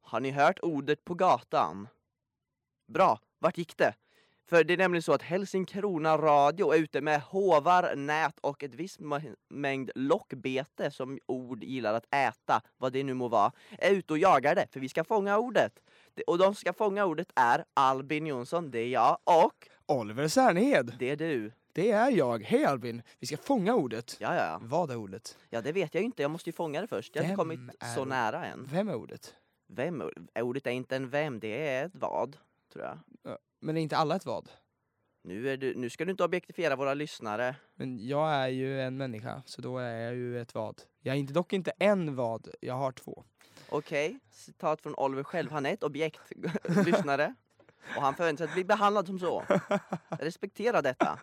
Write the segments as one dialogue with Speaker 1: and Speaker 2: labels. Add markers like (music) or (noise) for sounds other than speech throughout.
Speaker 1: Har ni hört ordet på gatan? Bra, vart gick det? För det är nämligen så att Helsingkrona Radio är ute med hovar, nät och ett visst ma- mängd lockbete som ord gillar att äta, vad det nu må vara, är ute och jagar det, för vi ska fånga ordet. Det- Och de som ska fånga ordet är Albin Jonsson, det är jag, och
Speaker 2: Oliver Särnhed,
Speaker 1: det är du.
Speaker 2: det är jag. Hej Albin, vi ska fånga ordet.
Speaker 1: Ja, ja, ja.
Speaker 2: Vad är ordet?
Speaker 1: Ja, det vet jag ju inte. Jag måste ju fånga det först. Jag har inte
Speaker 2: Vem
Speaker 1: kommit
Speaker 2: är
Speaker 1: så
Speaker 2: ordet?
Speaker 1: nära än.
Speaker 2: Vem är ordet?
Speaker 1: Vem? är- Ordet är inte en vem, det är ett vad, tror jag.
Speaker 2: Men är inte alla ett vad?
Speaker 1: Nu, är du, nu ska du inte objektifiera våra lyssnare.
Speaker 2: Men jag är ju en människa, så då är jag ju ett vad. Jag är inte, dock inte en vad, jag har två.
Speaker 1: Okej, citat från Oliver själv. Han är ett objekt, (laughs) lyssnare. Och han förväntar sig att bli behandlad som så. Respektera detta.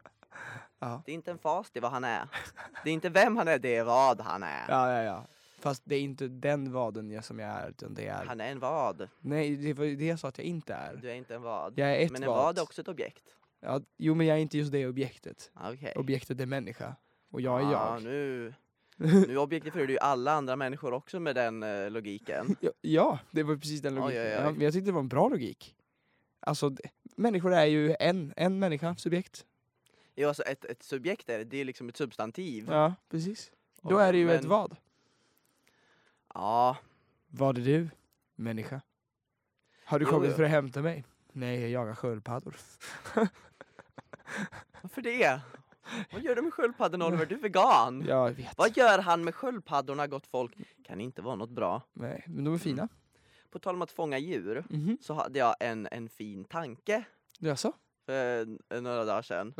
Speaker 2: Ja.
Speaker 1: Det är inte en fas, det är vad han är. Det är inte vem han är, det är vad han är.
Speaker 2: Ja, ja, ja. Fast det är inte den vaden jag, som jag är, utan det är...
Speaker 1: Han är en vad.
Speaker 2: Nej, det var ju det jag sa att jag inte är.
Speaker 1: Du är inte en vad.
Speaker 2: Jag är ett
Speaker 1: Men en vad
Speaker 2: vad.
Speaker 1: är också ett objekt.
Speaker 2: Ja, jo, men jag är inte just det objektet.
Speaker 1: Okej.
Speaker 2: Objektet är människa. Och jag är
Speaker 1: Ah,
Speaker 2: jag.
Speaker 1: nu, nu objektifierar du ju alla andra människor också med den eh, logiken.
Speaker 2: Ja, ja, det var precis den
Speaker 1: Oj,
Speaker 2: logiken.
Speaker 1: oj, oj.
Speaker 2: Ja, men jag tyckte det var en bra logik. Alltså, d- människor är ju en, en människa, subjekt.
Speaker 1: Jo, alltså ett, ett subjekt är det, det är liksom ett substantiv.
Speaker 2: Ja, precis. Då
Speaker 1: Och-
Speaker 2: är det ju ett
Speaker 1: men-
Speaker 2: vad.
Speaker 1: Ja,
Speaker 2: Vad är du? Människa. Har du
Speaker 1: Jo,
Speaker 2: kommit
Speaker 1: jo.
Speaker 2: för att hämta mig? Nej, jag jagar sköldpaddor.
Speaker 1: varför det? Vad gör du med sköldpaddorna Oliver? Du är vegan!
Speaker 2: Mm. Jag vet.
Speaker 1: Vad gör han med sköldpaddorna gott folk? Kan inte vara något bra.
Speaker 2: Nej, men de är fina.
Speaker 1: På tal om att fånga djur
Speaker 2: Mhm.
Speaker 1: så hade jag en, en fin tanke
Speaker 2: Jaså?
Speaker 1: för eh, några dagar sedan.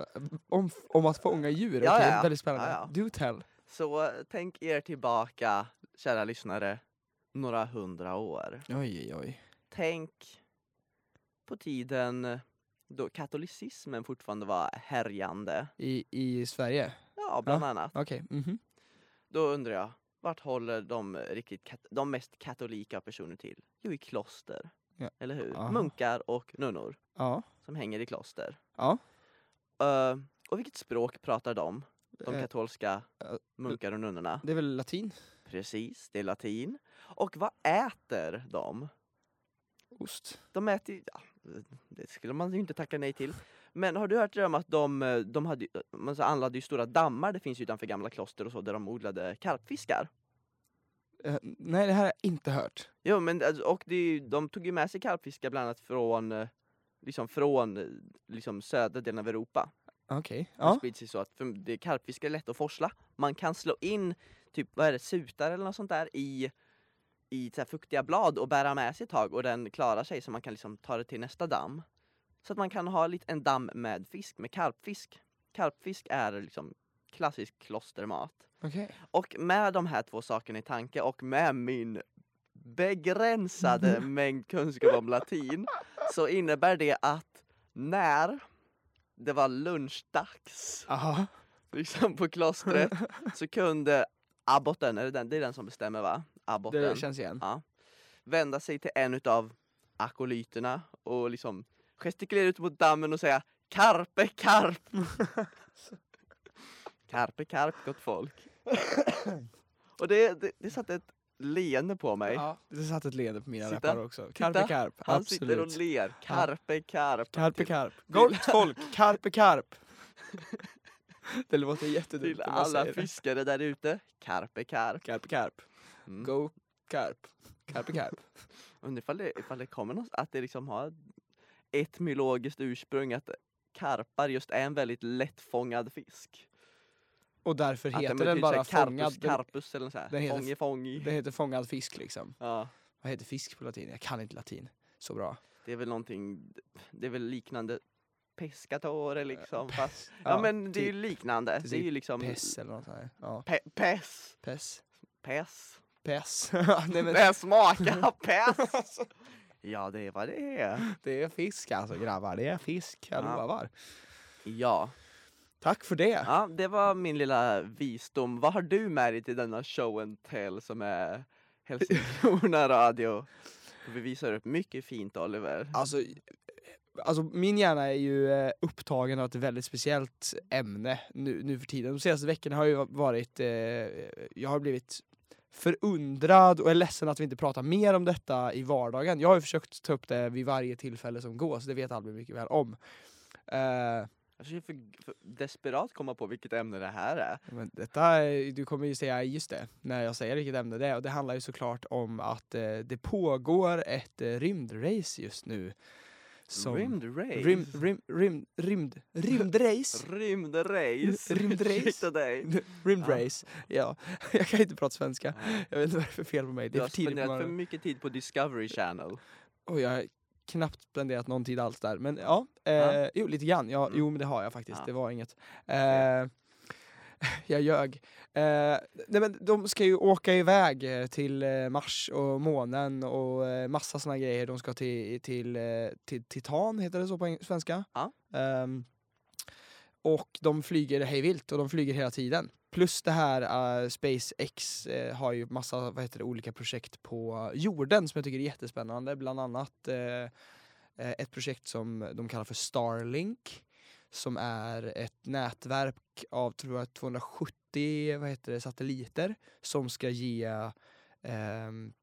Speaker 2: Om, om att fånga djur?
Speaker 1: Ja,
Speaker 2: Okej,
Speaker 1: ja, ja.
Speaker 2: väldigt spännande.
Speaker 1: Ja, ja.
Speaker 2: Do tell.
Speaker 1: Så eh, tänk er tillbaka, kära lyssnare, några hundra år.
Speaker 2: Oj, oj.
Speaker 1: tänk på tiden då katolicismen fortfarande var härjande.
Speaker 2: I, i Sverige?
Speaker 1: Ja, bland annat.
Speaker 2: Okej. mhm.
Speaker 1: Då undrar jag, vart håller de, eh, riktigt kat- de mest katolika personer till? Jo, i kloster.
Speaker 2: Ja.
Speaker 1: Eller hur?
Speaker 2: Aha.
Speaker 1: Munkar och nunnor
Speaker 2: Ja.
Speaker 1: som hänger i kloster.
Speaker 2: Ja.
Speaker 1: Eh, och vilket språk pratar de? De
Speaker 2: Eh,
Speaker 1: katolska
Speaker 2: eh,
Speaker 1: munkar och nunnorna.
Speaker 2: Det är väl latin?
Speaker 1: Precis, det är latin. Och vad äter de?
Speaker 2: Ost?
Speaker 1: De äter ju, ja, det skulle man ju inte tacka nej till. Men har du hört det om att de, eh, de hade, ju- man så anlade ju stora dammar, det finns ju utanför gamla kloster och så, där de odlade karpfiskar.
Speaker 2: Eh, nej, det här har jag inte hört.
Speaker 1: Jo men alltså, och det, är ju- de tog ju med sig karpfiskar bland annat från, eh, liksom från eh, liksom södra delen av Europa.
Speaker 2: Okej.
Speaker 1: Det
Speaker 2: Ja.
Speaker 1: sprids ju så att för det, karpfiskar är lätt att forsla. Man kan slå in typ, vad är det, sutar eller något sånt där i i så här fuktiga blad och bära med sig ett tag och den klarar sig så man kan liksom ta det till nästa damm. Så att man kan ha lite, en damm med fisk, med karpfisk. Karpfisk är liksom klassisk klostermat.
Speaker 2: Okej.
Speaker 1: Och med de här två sakerna i tanke och med min begränsade
Speaker 2: Mm.
Speaker 1: mängd kunskap om latin så innebär det att när det var lunchdags
Speaker 2: Aha.
Speaker 1: liksom på
Speaker 2: (laughs)
Speaker 1: klostret så kunde abboten, är det, den, det är den som bestämmer va?
Speaker 2: Det
Speaker 1: Abboten.
Speaker 2: känns igen.
Speaker 1: Vända sig till en utav akolyterna och liksom gestikulera ut mot dammen och säga Carpe
Speaker 2: (laughs)
Speaker 1: carp! carpe carp gott
Speaker 2: (laughs)
Speaker 1: folk. och det, det, det satte ett leende på mig.
Speaker 2: Ja, det satt ett leende på mina
Speaker 1: Sitta.
Speaker 2: läppar också. Carpe carp,
Speaker 1: Han sitter och
Speaker 2: absolut.
Speaker 1: ler. Carpe carp.
Speaker 2: Carpe
Speaker 1: till,
Speaker 2: carp. Gott folk,
Speaker 1: (laughs)
Speaker 2: carpe carp. det låter jättedumt
Speaker 1: till
Speaker 2: när man
Speaker 1: alla
Speaker 2: säger det.
Speaker 1: fiskare där ute. Carpe carp.
Speaker 2: Carpe carp.
Speaker 1: Mm.
Speaker 2: Go carp. Carpe carp.
Speaker 1: Undrar ifall det, ifall det kommer något, att det liksom har etymologiskt ursprung att karpar just är en väldigt lättfångad fisk.
Speaker 2: Och därför
Speaker 1: Att
Speaker 2: heter
Speaker 1: betyder
Speaker 2: den bara
Speaker 1: så här
Speaker 2: fångad.
Speaker 1: Carpus,
Speaker 2: Den,
Speaker 1: carpus eller så här.
Speaker 2: den heter-
Speaker 1: Fånge, fångi.
Speaker 2: den heter fångad fisk liksom.
Speaker 1: Ja,
Speaker 2: Vad heter fisk på latin? Jag kan inte latin så bra.
Speaker 1: det är väl någonting, det är väl liknande pescatore liksom. Fast,
Speaker 2: Pess.
Speaker 1: ja, men det är ju liknande. Det är
Speaker 2: typ
Speaker 1: ju liksom
Speaker 2: Pess eller något sånt här. Ja.
Speaker 1: Pe, pess,
Speaker 2: Pess.
Speaker 1: pess. (laughs)
Speaker 2: Pess. (laughs) Nej, men Alltså.
Speaker 1: Det här
Speaker 2: (laughs)
Speaker 1: smakar pess! Ja, det är vad det är.
Speaker 2: det är fisk alltså grabbar. Det är fisk, jag
Speaker 1: Ja.
Speaker 2: lovar.
Speaker 1: Ja.
Speaker 2: Tack för det.
Speaker 1: Ja, det var min lilla visdom. Vad har du med dig till denna show and tell som är Helsingkrona radio? Vi visar upp mycket fint Oliver.
Speaker 2: Alltså, alltså min hjärna är ju eh, upptagen av ett väldigt speciellt ämne nu, nu för tiden. De senaste veckorna har ju varit, eh, jag har blivit förundrad och är ledsen att vi inte pratar mer om detta i vardagen. Jag har ju försökt ta upp det vid varje tillfälle som går, så det vet Albin mycket väl om. Eh,
Speaker 1: Jag försöker för, för desperat komma på vilket ämne det här är.
Speaker 2: men detta, är- du kommer ju säga just det, när jag säger vilket ämne det är. Och det handlar ju såklart om att eh, det pågår ett eh, rymdrace just nu. Som-
Speaker 1: Rymdrace?
Speaker 2: Rym, rym, rym, rymd,
Speaker 1: (laughs)
Speaker 2: rymdrace.
Speaker 1: Rymdrace?
Speaker 2: Rymdrace.
Speaker 1: Ursäkta dig.
Speaker 2: Rymdrace. Ja. (laughs) Jag kan inte prata svenska.
Speaker 1: Nej,
Speaker 2: Jag vet inte vad det är för fel på mig. Det
Speaker 1: Du
Speaker 2: är
Speaker 1: har
Speaker 2: för tidigt på
Speaker 1: spenderat för
Speaker 2: morgonen.
Speaker 1: mycket tid på Discovery Channel.
Speaker 2: Och jag har knappt spenderat någon tid alls där. Men ja, eh,
Speaker 1: Ja.
Speaker 2: jo lite grann. Ja,
Speaker 1: Mm.
Speaker 2: Jo men det har jag faktiskt.
Speaker 1: Ja.
Speaker 2: Det var inget. Eh, (laughs) jag ljög. Eh, nej men de ska ju åka iväg eh, till eh, Mars och månen och eh, massa såna grejer. De ska till, till, eh, till Titan, heter det så på eng- svenska?
Speaker 1: Ja.
Speaker 2: Ehm, och de flyger hejvilt och de flyger hela tiden. Plus det här eh, SpaceX eh, har ju massa vad heter det, olika projekt på jorden som jag tycker är jättespännande. Bland annat eh, eh, ett projekt som de kallar för Starlink som är ett nätverk av tror jag, 270 vad heter det, satelliter som ska ge ehm,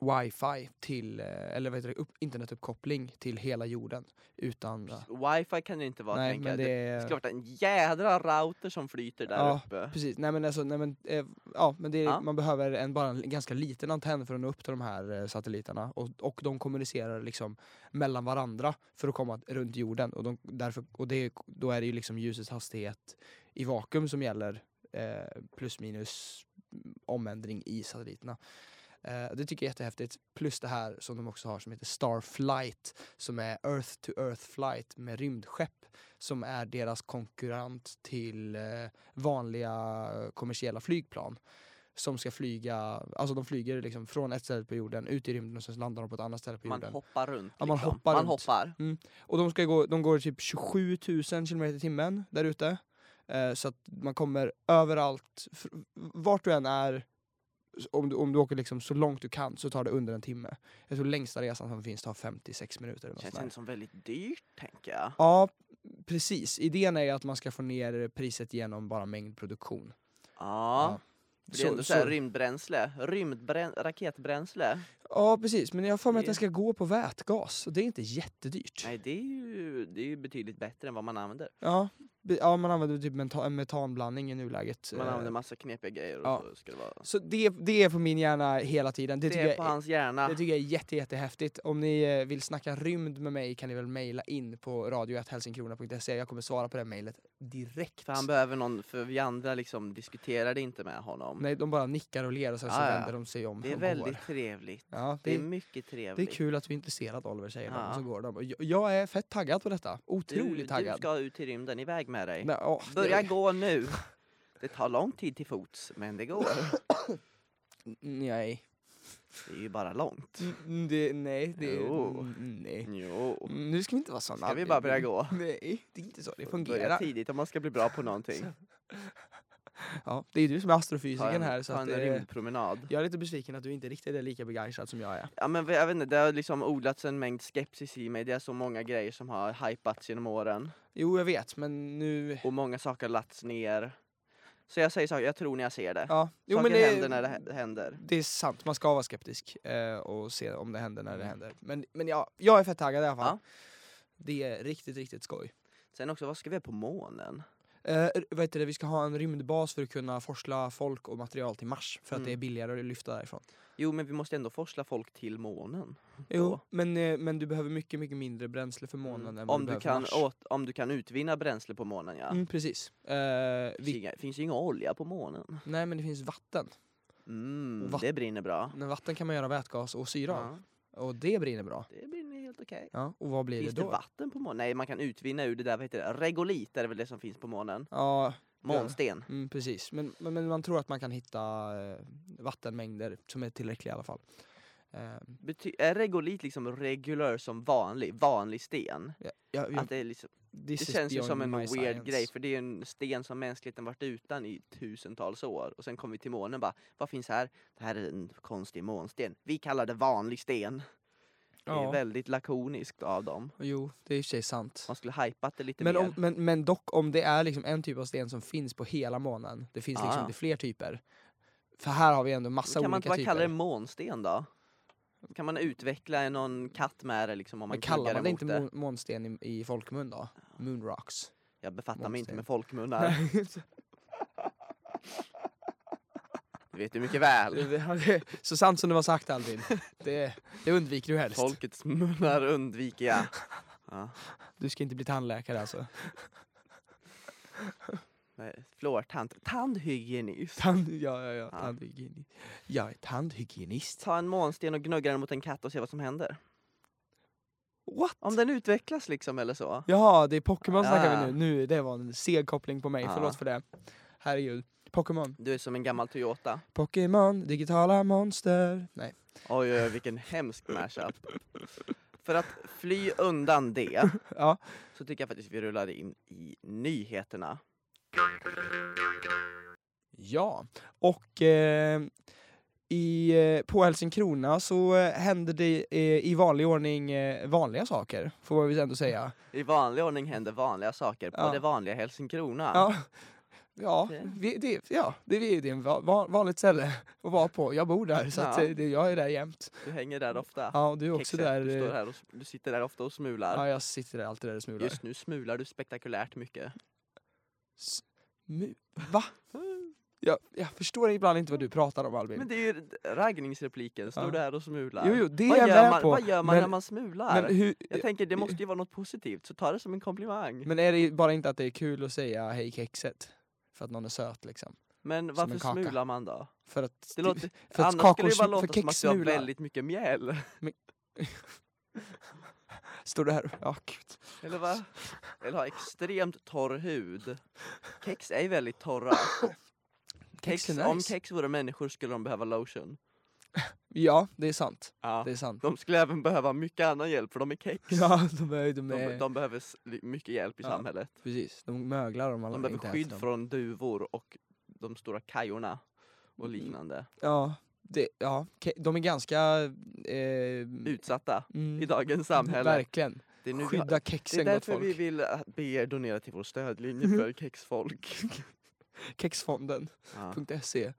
Speaker 2: wifi till, eh, eller vad heter det, upp, internetuppkoppling till hela jorden utan...
Speaker 1: Wifi kan det inte vara
Speaker 2: Nej,
Speaker 1: tänker jag.
Speaker 2: men det
Speaker 1: Det,
Speaker 2: är...
Speaker 1: det ska vara en jädra router som flyter där
Speaker 2: Ja,
Speaker 1: uppe.
Speaker 2: Precis, nej men alltså, nej men, eh, ja, men det är,
Speaker 1: Ja.
Speaker 2: man behöver en, bara en ganska liten antenn för att nå upp till de här eh, satelliterna och, och de kommunicerar liksom mellan varandra för att komma runt jorden och, de, därför, och det, då är det ju liksom ljusets hastighet i vakuum som gäller eh, plus minus mm, omändring i satelliterna. Eh, det tycker jag är jättehäftigt. Plus det här som de också har som heter Starflight som är Earth to Earth flight med rymdskepp som är deras konkurrent till eh, vanliga eh, kommersiella flygplan som ska flyga, alltså de flyger liksom från ett ställe på jorden ut i rymden och sen landar de på ett annat ställe på
Speaker 1: Man
Speaker 2: jorden.
Speaker 1: hoppar runt.
Speaker 2: Ja, man
Speaker 1: liksom.
Speaker 2: hoppar
Speaker 1: man
Speaker 2: runt.
Speaker 1: hoppar.
Speaker 2: och de, ska gå, de går typ 27 000 kilometer i timmen där ute. Eh, så att man kommer överallt, fr- vart du än är, s- om du, om du åker liksom så långt du kan så tar det under en timme. Jag tror längsta resan som finns tar 56 minuter. Eller något sånt
Speaker 1: Känns
Speaker 2: där.
Speaker 1: inte som väldigt dyrt tänker jag.
Speaker 2: Ja, precis. Idén är ju att man ska få ner priset genom bara mängdproduktion.
Speaker 1: Ja. För det
Speaker 2: Så-
Speaker 1: är ändå så, här
Speaker 2: så-
Speaker 1: rymdbränsle, rymdbrän- raketbränsle.
Speaker 2: Ja, precis. Men jag har för mig att
Speaker 1: Det-
Speaker 2: den ska gå på vätgas och det är inte jättedyrt.
Speaker 1: Nej det är ju, det är ju betydligt bättre än vad man använder.
Speaker 2: Ja, be- ja, man använder typ menta- en metanblandning i nuläget.
Speaker 1: Man
Speaker 2: Eh,
Speaker 1: använder massa knepiga grejer och
Speaker 2: ja.
Speaker 1: så ska det vara.
Speaker 2: Så det, det är på min hjärna hela tiden. Det,
Speaker 1: Det,
Speaker 2: tycker,
Speaker 1: är på
Speaker 2: jag,
Speaker 1: hans hjärna.
Speaker 2: det tycker jag är jätte, jättehäftigt. Om ni eh, vill snacka rymd med mig kan ni väl mejla in på radio.helsingkrona.se. Jag kommer svara på det mejlet direkt.
Speaker 1: För han behöver någon, för vi andra liksom diskuterar det inte med honom.
Speaker 2: Nej, de bara nickar och ler och sen så
Speaker 1: Ja, ja.
Speaker 2: vänder de sig om
Speaker 1: det är
Speaker 2: och går.
Speaker 1: väldigt trevligt.
Speaker 2: Ja,
Speaker 1: Det är
Speaker 2: det,
Speaker 1: mycket
Speaker 2: det är
Speaker 1: trevligt.
Speaker 2: kul att du är intresserad Oliver, säger de.
Speaker 1: Ja.
Speaker 2: Och så går de. Och jag, jag är fett taggad på detta. Otroligt
Speaker 1: Du, du
Speaker 2: taggad.
Speaker 1: ska ut till rymden, iväg med dig.
Speaker 2: Nej, åh,
Speaker 1: Börja
Speaker 2: det-
Speaker 1: gå
Speaker 2: (laughs)
Speaker 1: nu. Det tar lång tid till fots, men det går.
Speaker 2: Nej.
Speaker 1: Det är ju bara
Speaker 2: (laughs)
Speaker 1: långt.
Speaker 2: Mm, Det, nej, det
Speaker 1: Jo.
Speaker 2: mm, Nej.
Speaker 1: Jo.
Speaker 2: Mm, Nu ska vi inte vara såna.
Speaker 1: Ska vi bara börja gå?
Speaker 2: Nej, det är inte så det
Speaker 1: Börja
Speaker 2: fungerar.
Speaker 1: tidigt om man ska bli bra på någonting.
Speaker 2: Ja, det är ju du som är
Speaker 1: Ta en,
Speaker 2: astrofysikern här så
Speaker 1: ta
Speaker 2: att,
Speaker 1: en
Speaker 2: eh,
Speaker 1: rymdpromenad.
Speaker 2: jag är lite besviken att du inte riktigt är lika begeistrad som jag är.
Speaker 1: Ja men jag vet inte, det har liksom odlats en mängd skepsis i mig. Det är så många grejer som har hypats genom åren.
Speaker 2: Jo, jag vet, men nu...
Speaker 1: Och många saker har lagts ner. Så jag säger saker, jag tror när jag ser det.
Speaker 2: Ja, jo,
Speaker 1: saker
Speaker 2: men det,
Speaker 1: händer när det hä- händer.
Speaker 2: det är sant, man ska vara skeptisk eh, och se om det händer när det händer. Men, men ja, jag är fett taggad i alla fall. Det är riktigt, riktigt skoj.
Speaker 1: Sen också, vad ska vi göra på månen?
Speaker 2: Eh, r- vad heter det, vi ska ha en rymdbas för att kunna forsla folk och material till Mars för att
Speaker 1: Mm.
Speaker 2: det är billigare att lyfta därifrån.
Speaker 1: Jo men vi måste ändå forsla folk till månen.
Speaker 2: Jo,
Speaker 1: Då.
Speaker 2: men, eh, men du behöver mycket, mycket mindre bränsle för månen än vad
Speaker 1: Om,
Speaker 2: Mm. du
Speaker 1: du
Speaker 2: behöver
Speaker 1: kan
Speaker 2: för Mars.
Speaker 1: åt, om du kan utvinna bränsle på månen ja.
Speaker 2: Mm, precis. Eh,
Speaker 1: Det
Speaker 2: vi,
Speaker 1: finns inga- finns ju ingen olja på månen.
Speaker 2: Nej, men det finns vatten.
Speaker 1: Mm,
Speaker 2: Vatt-
Speaker 1: det brinner bra.
Speaker 2: Men vatten kan man göra vätgas och syra av.
Speaker 1: Ja,
Speaker 2: Och det brinner bra.
Speaker 1: det brinner helt okej.
Speaker 2: Ja, och vad blir
Speaker 1: Finns
Speaker 2: det
Speaker 1: det
Speaker 2: då?
Speaker 1: vatten på månen? Nej man kan utvinna ur det där, vad heter det? Regolit är det väl det som finns på månen?
Speaker 2: ja,
Speaker 1: Månsten.
Speaker 2: mm, precis. Men, men, men man tror att man kan hitta eh, vattenmängder som är tillräckliga i alla fall. Eh,
Speaker 1: Bety- är regolit liksom regular som vanlig, vanlig sten?
Speaker 2: jag, jag,
Speaker 1: Att det, är liksom,
Speaker 2: this
Speaker 1: det
Speaker 2: is
Speaker 1: känns ju som en
Speaker 2: beyond my
Speaker 1: weird
Speaker 2: science.
Speaker 1: grej för det är ju en sten som mänskligheten varit utan i tusentals år och sen kom vi till månen bara, vad finns här? Det här är en konstig månsten. Vi kallar det vanlig sten. Det är
Speaker 2: Ja,
Speaker 1: väldigt lakoniskt av dem.
Speaker 2: jo, det är i och för sig sant.
Speaker 1: Man skulle hajpat det lite
Speaker 2: Men,
Speaker 1: mer.
Speaker 2: om, men, men dock, om det är liksom en typ av sten som finns på hela månen, det finns liksom
Speaker 1: Ah.
Speaker 2: det är fler typer, För här har vi ändå massa
Speaker 1: Kan man inte
Speaker 2: olika
Speaker 1: bara
Speaker 2: typer.
Speaker 1: kalla det månsten då? Kan man utveckla någon katt med det liksom om man
Speaker 2: Men kallar
Speaker 1: knuggar
Speaker 2: man det
Speaker 1: emot
Speaker 2: inte mon- månsten i, i folkmun då? Moonrocks.
Speaker 1: Jag befattar mig inte
Speaker 2: månsten?
Speaker 1: med folkmunnar,
Speaker 2: (laughs)
Speaker 1: det vet du mycket
Speaker 2: (laughs)
Speaker 1: väl.
Speaker 2: Det- det- Så sant som du har sagt Albin, det, det undviker du helst.
Speaker 1: Folkets munnar undviker jag. Ja.
Speaker 2: Du ska inte bli tandläkare alltså.
Speaker 1: Nej, Flårtant. Tandhygienist.
Speaker 2: Tand, ja, ja, ja,
Speaker 1: Ja.
Speaker 2: tandhygienist. Jag är tandhygienist.
Speaker 1: Ta en månsten och gnugga den mot en katt och se vad som händer.
Speaker 2: What?
Speaker 1: Om den utvecklas liksom eller så.
Speaker 2: Jaha, det är Pokémon
Speaker 1: Ja.
Speaker 2: snackar vi nu. nu. Det var en seg koppling på mig,
Speaker 1: Ja.
Speaker 2: förlåt för det. Herregud. Pokémon.
Speaker 1: Du är som en gammal Toyota.
Speaker 2: Pokémon, digitala monster. Nej.
Speaker 1: Oj, oj, oj, vilken hemsk mashup. För att fly undan det
Speaker 2: (laughs) Ja.
Speaker 1: så tycker jag faktiskt vi rullar in i nyheterna.
Speaker 2: Ja, och eh, i, eh, på Helsingkrona så eh, händer det eh, i vanlig ordning eh, vanliga saker, får man väl ändå säga.
Speaker 1: I vanlig ordning händer vanliga saker på
Speaker 2: Ja.
Speaker 1: det vanliga Helsingkrona.
Speaker 2: Ja, ja,
Speaker 1: Okej.
Speaker 2: vi, det, ja det, vi- det är ett va, vanligt ställe att vara på. Jag bor där, så att,
Speaker 1: Ja.
Speaker 2: eh, det, jag är där jämt.
Speaker 1: Du hänger där ofta.
Speaker 2: Ja, och du är också
Speaker 1: Kexet,
Speaker 2: där.
Speaker 1: Du, står
Speaker 2: eh,
Speaker 1: här och, s- du sitter där ofta och smular.
Speaker 2: Ja, jag sitter där alltid där och smular.
Speaker 1: Just nu smular du spektakulärt mycket.
Speaker 2: Mu- Va? Jag, jag förstår ibland inte vad du pratar om Albin.
Speaker 1: Men det är ju raggningsrepliken, står
Speaker 2: Ja.
Speaker 1: du här och smular?
Speaker 2: jo, jo, det är
Speaker 1: vad,
Speaker 2: jag
Speaker 1: gör
Speaker 2: med
Speaker 1: man,
Speaker 2: på.
Speaker 1: vad gör man
Speaker 2: men,
Speaker 1: när man smular?
Speaker 2: men hur,
Speaker 1: jag tänker det måste ju vara något positivt, så ta det som en komplimang.
Speaker 2: Eh, Men är det bara inte att det är kul att säga hej kexet? För att någon är söt liksom?
Speaker 1: Men
Speaker 2: som en
Speaker 1: varför
Speaker 2: kaka.
Speaker 1: smular man då?
Speaker 2: För att,
Speaker 1: Det låter,
Speaker 2: för att
Speaker 1: annars skulle det ju
Speaker 2: kakor
Speaker 1: bara
Speaker 2: sm- för
Speaker 1: låta som
Speaker 2: kex
Speaker 1: att du har
Speaker 2: smular.
Speaker 1: väldigt mycket mjäll. (laughs)
Speaker 2: Står det här ja gud.
Speaker 1: Eller va? Eller har extremt torr hud. Kex är ju väldigt torra. Kex,
Speaker 2: Kex är
Speaker 1: Om
Speaker 2: nice.
Speaker 1: kex vore människor skulle de behöva lotion.
Speaker 2: Ja, det är sant.
Speaker 1: Ja.
Speaker 2: Det är sant. (laughs)
Speaker 1: De skulle även behöva mycket annan hjälp för de är kex.
Speaker 2: Ja, de är de är,
Speaker 1: De, de behöver s- li- mycket hjälp i
Speaker 2: Ja.
Speaker 1: samhället.
Speaker 2: precis. De möglar om alla
Speaker 1: De behöver
Speaker 2: inte
Speaker 1: skydd
Speaker 2: äter dem.
Speaker 1: från duvor och de stora kajorna
Speaker 2: Mm.
Speaker 1: och liknande.
Speaker 2: Ja, det, ja. Ke- de är ganska... Eh,
Speaker 1: Utsatta
Speaker 2: mm,
Speaker 1: i dagens samhälle.
Speaker 2: Verkligen.
Speaker 1: Det är, nu vi har,
Speaker 2: Skydda
Speaker 1: det är
Speaker 2: kexen gott
Speaker 1: därför
Speaker 2: folk. Mm-hmm.
Speaker 1: vi vill eh, be er donera till vår stödlinje för
Speaker 2: (laughs)
Speaker 1: kexfolk.
Speaker 2: Kexfonden.se
Speaker 1: Ja.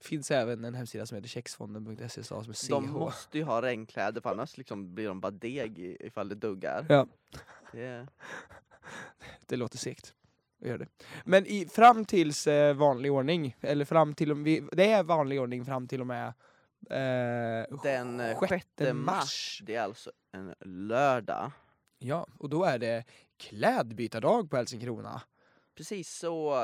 Speaker 2: Finns även en hemsida som heter kexfonden.se som är CH.
Speaker 1: De måste ju ha regnkläder för annars liksom blir de bara deg i- ifall det duggar.
Speaker 2: Ja.
Speaker 1: Det,
Speaker 2: Det låter segt. Jag gör det. Men i, fram tills eh, vanlig ordning, eller fram till om vi, det är vanlig ordning fram till och med eh,
Speaker 1: den eh, 6 mars, det är alltså en lördag.
Speaker 2: Ja, och då är det klädbytardag på Helsingkrona.
Speaker 1: Precis så,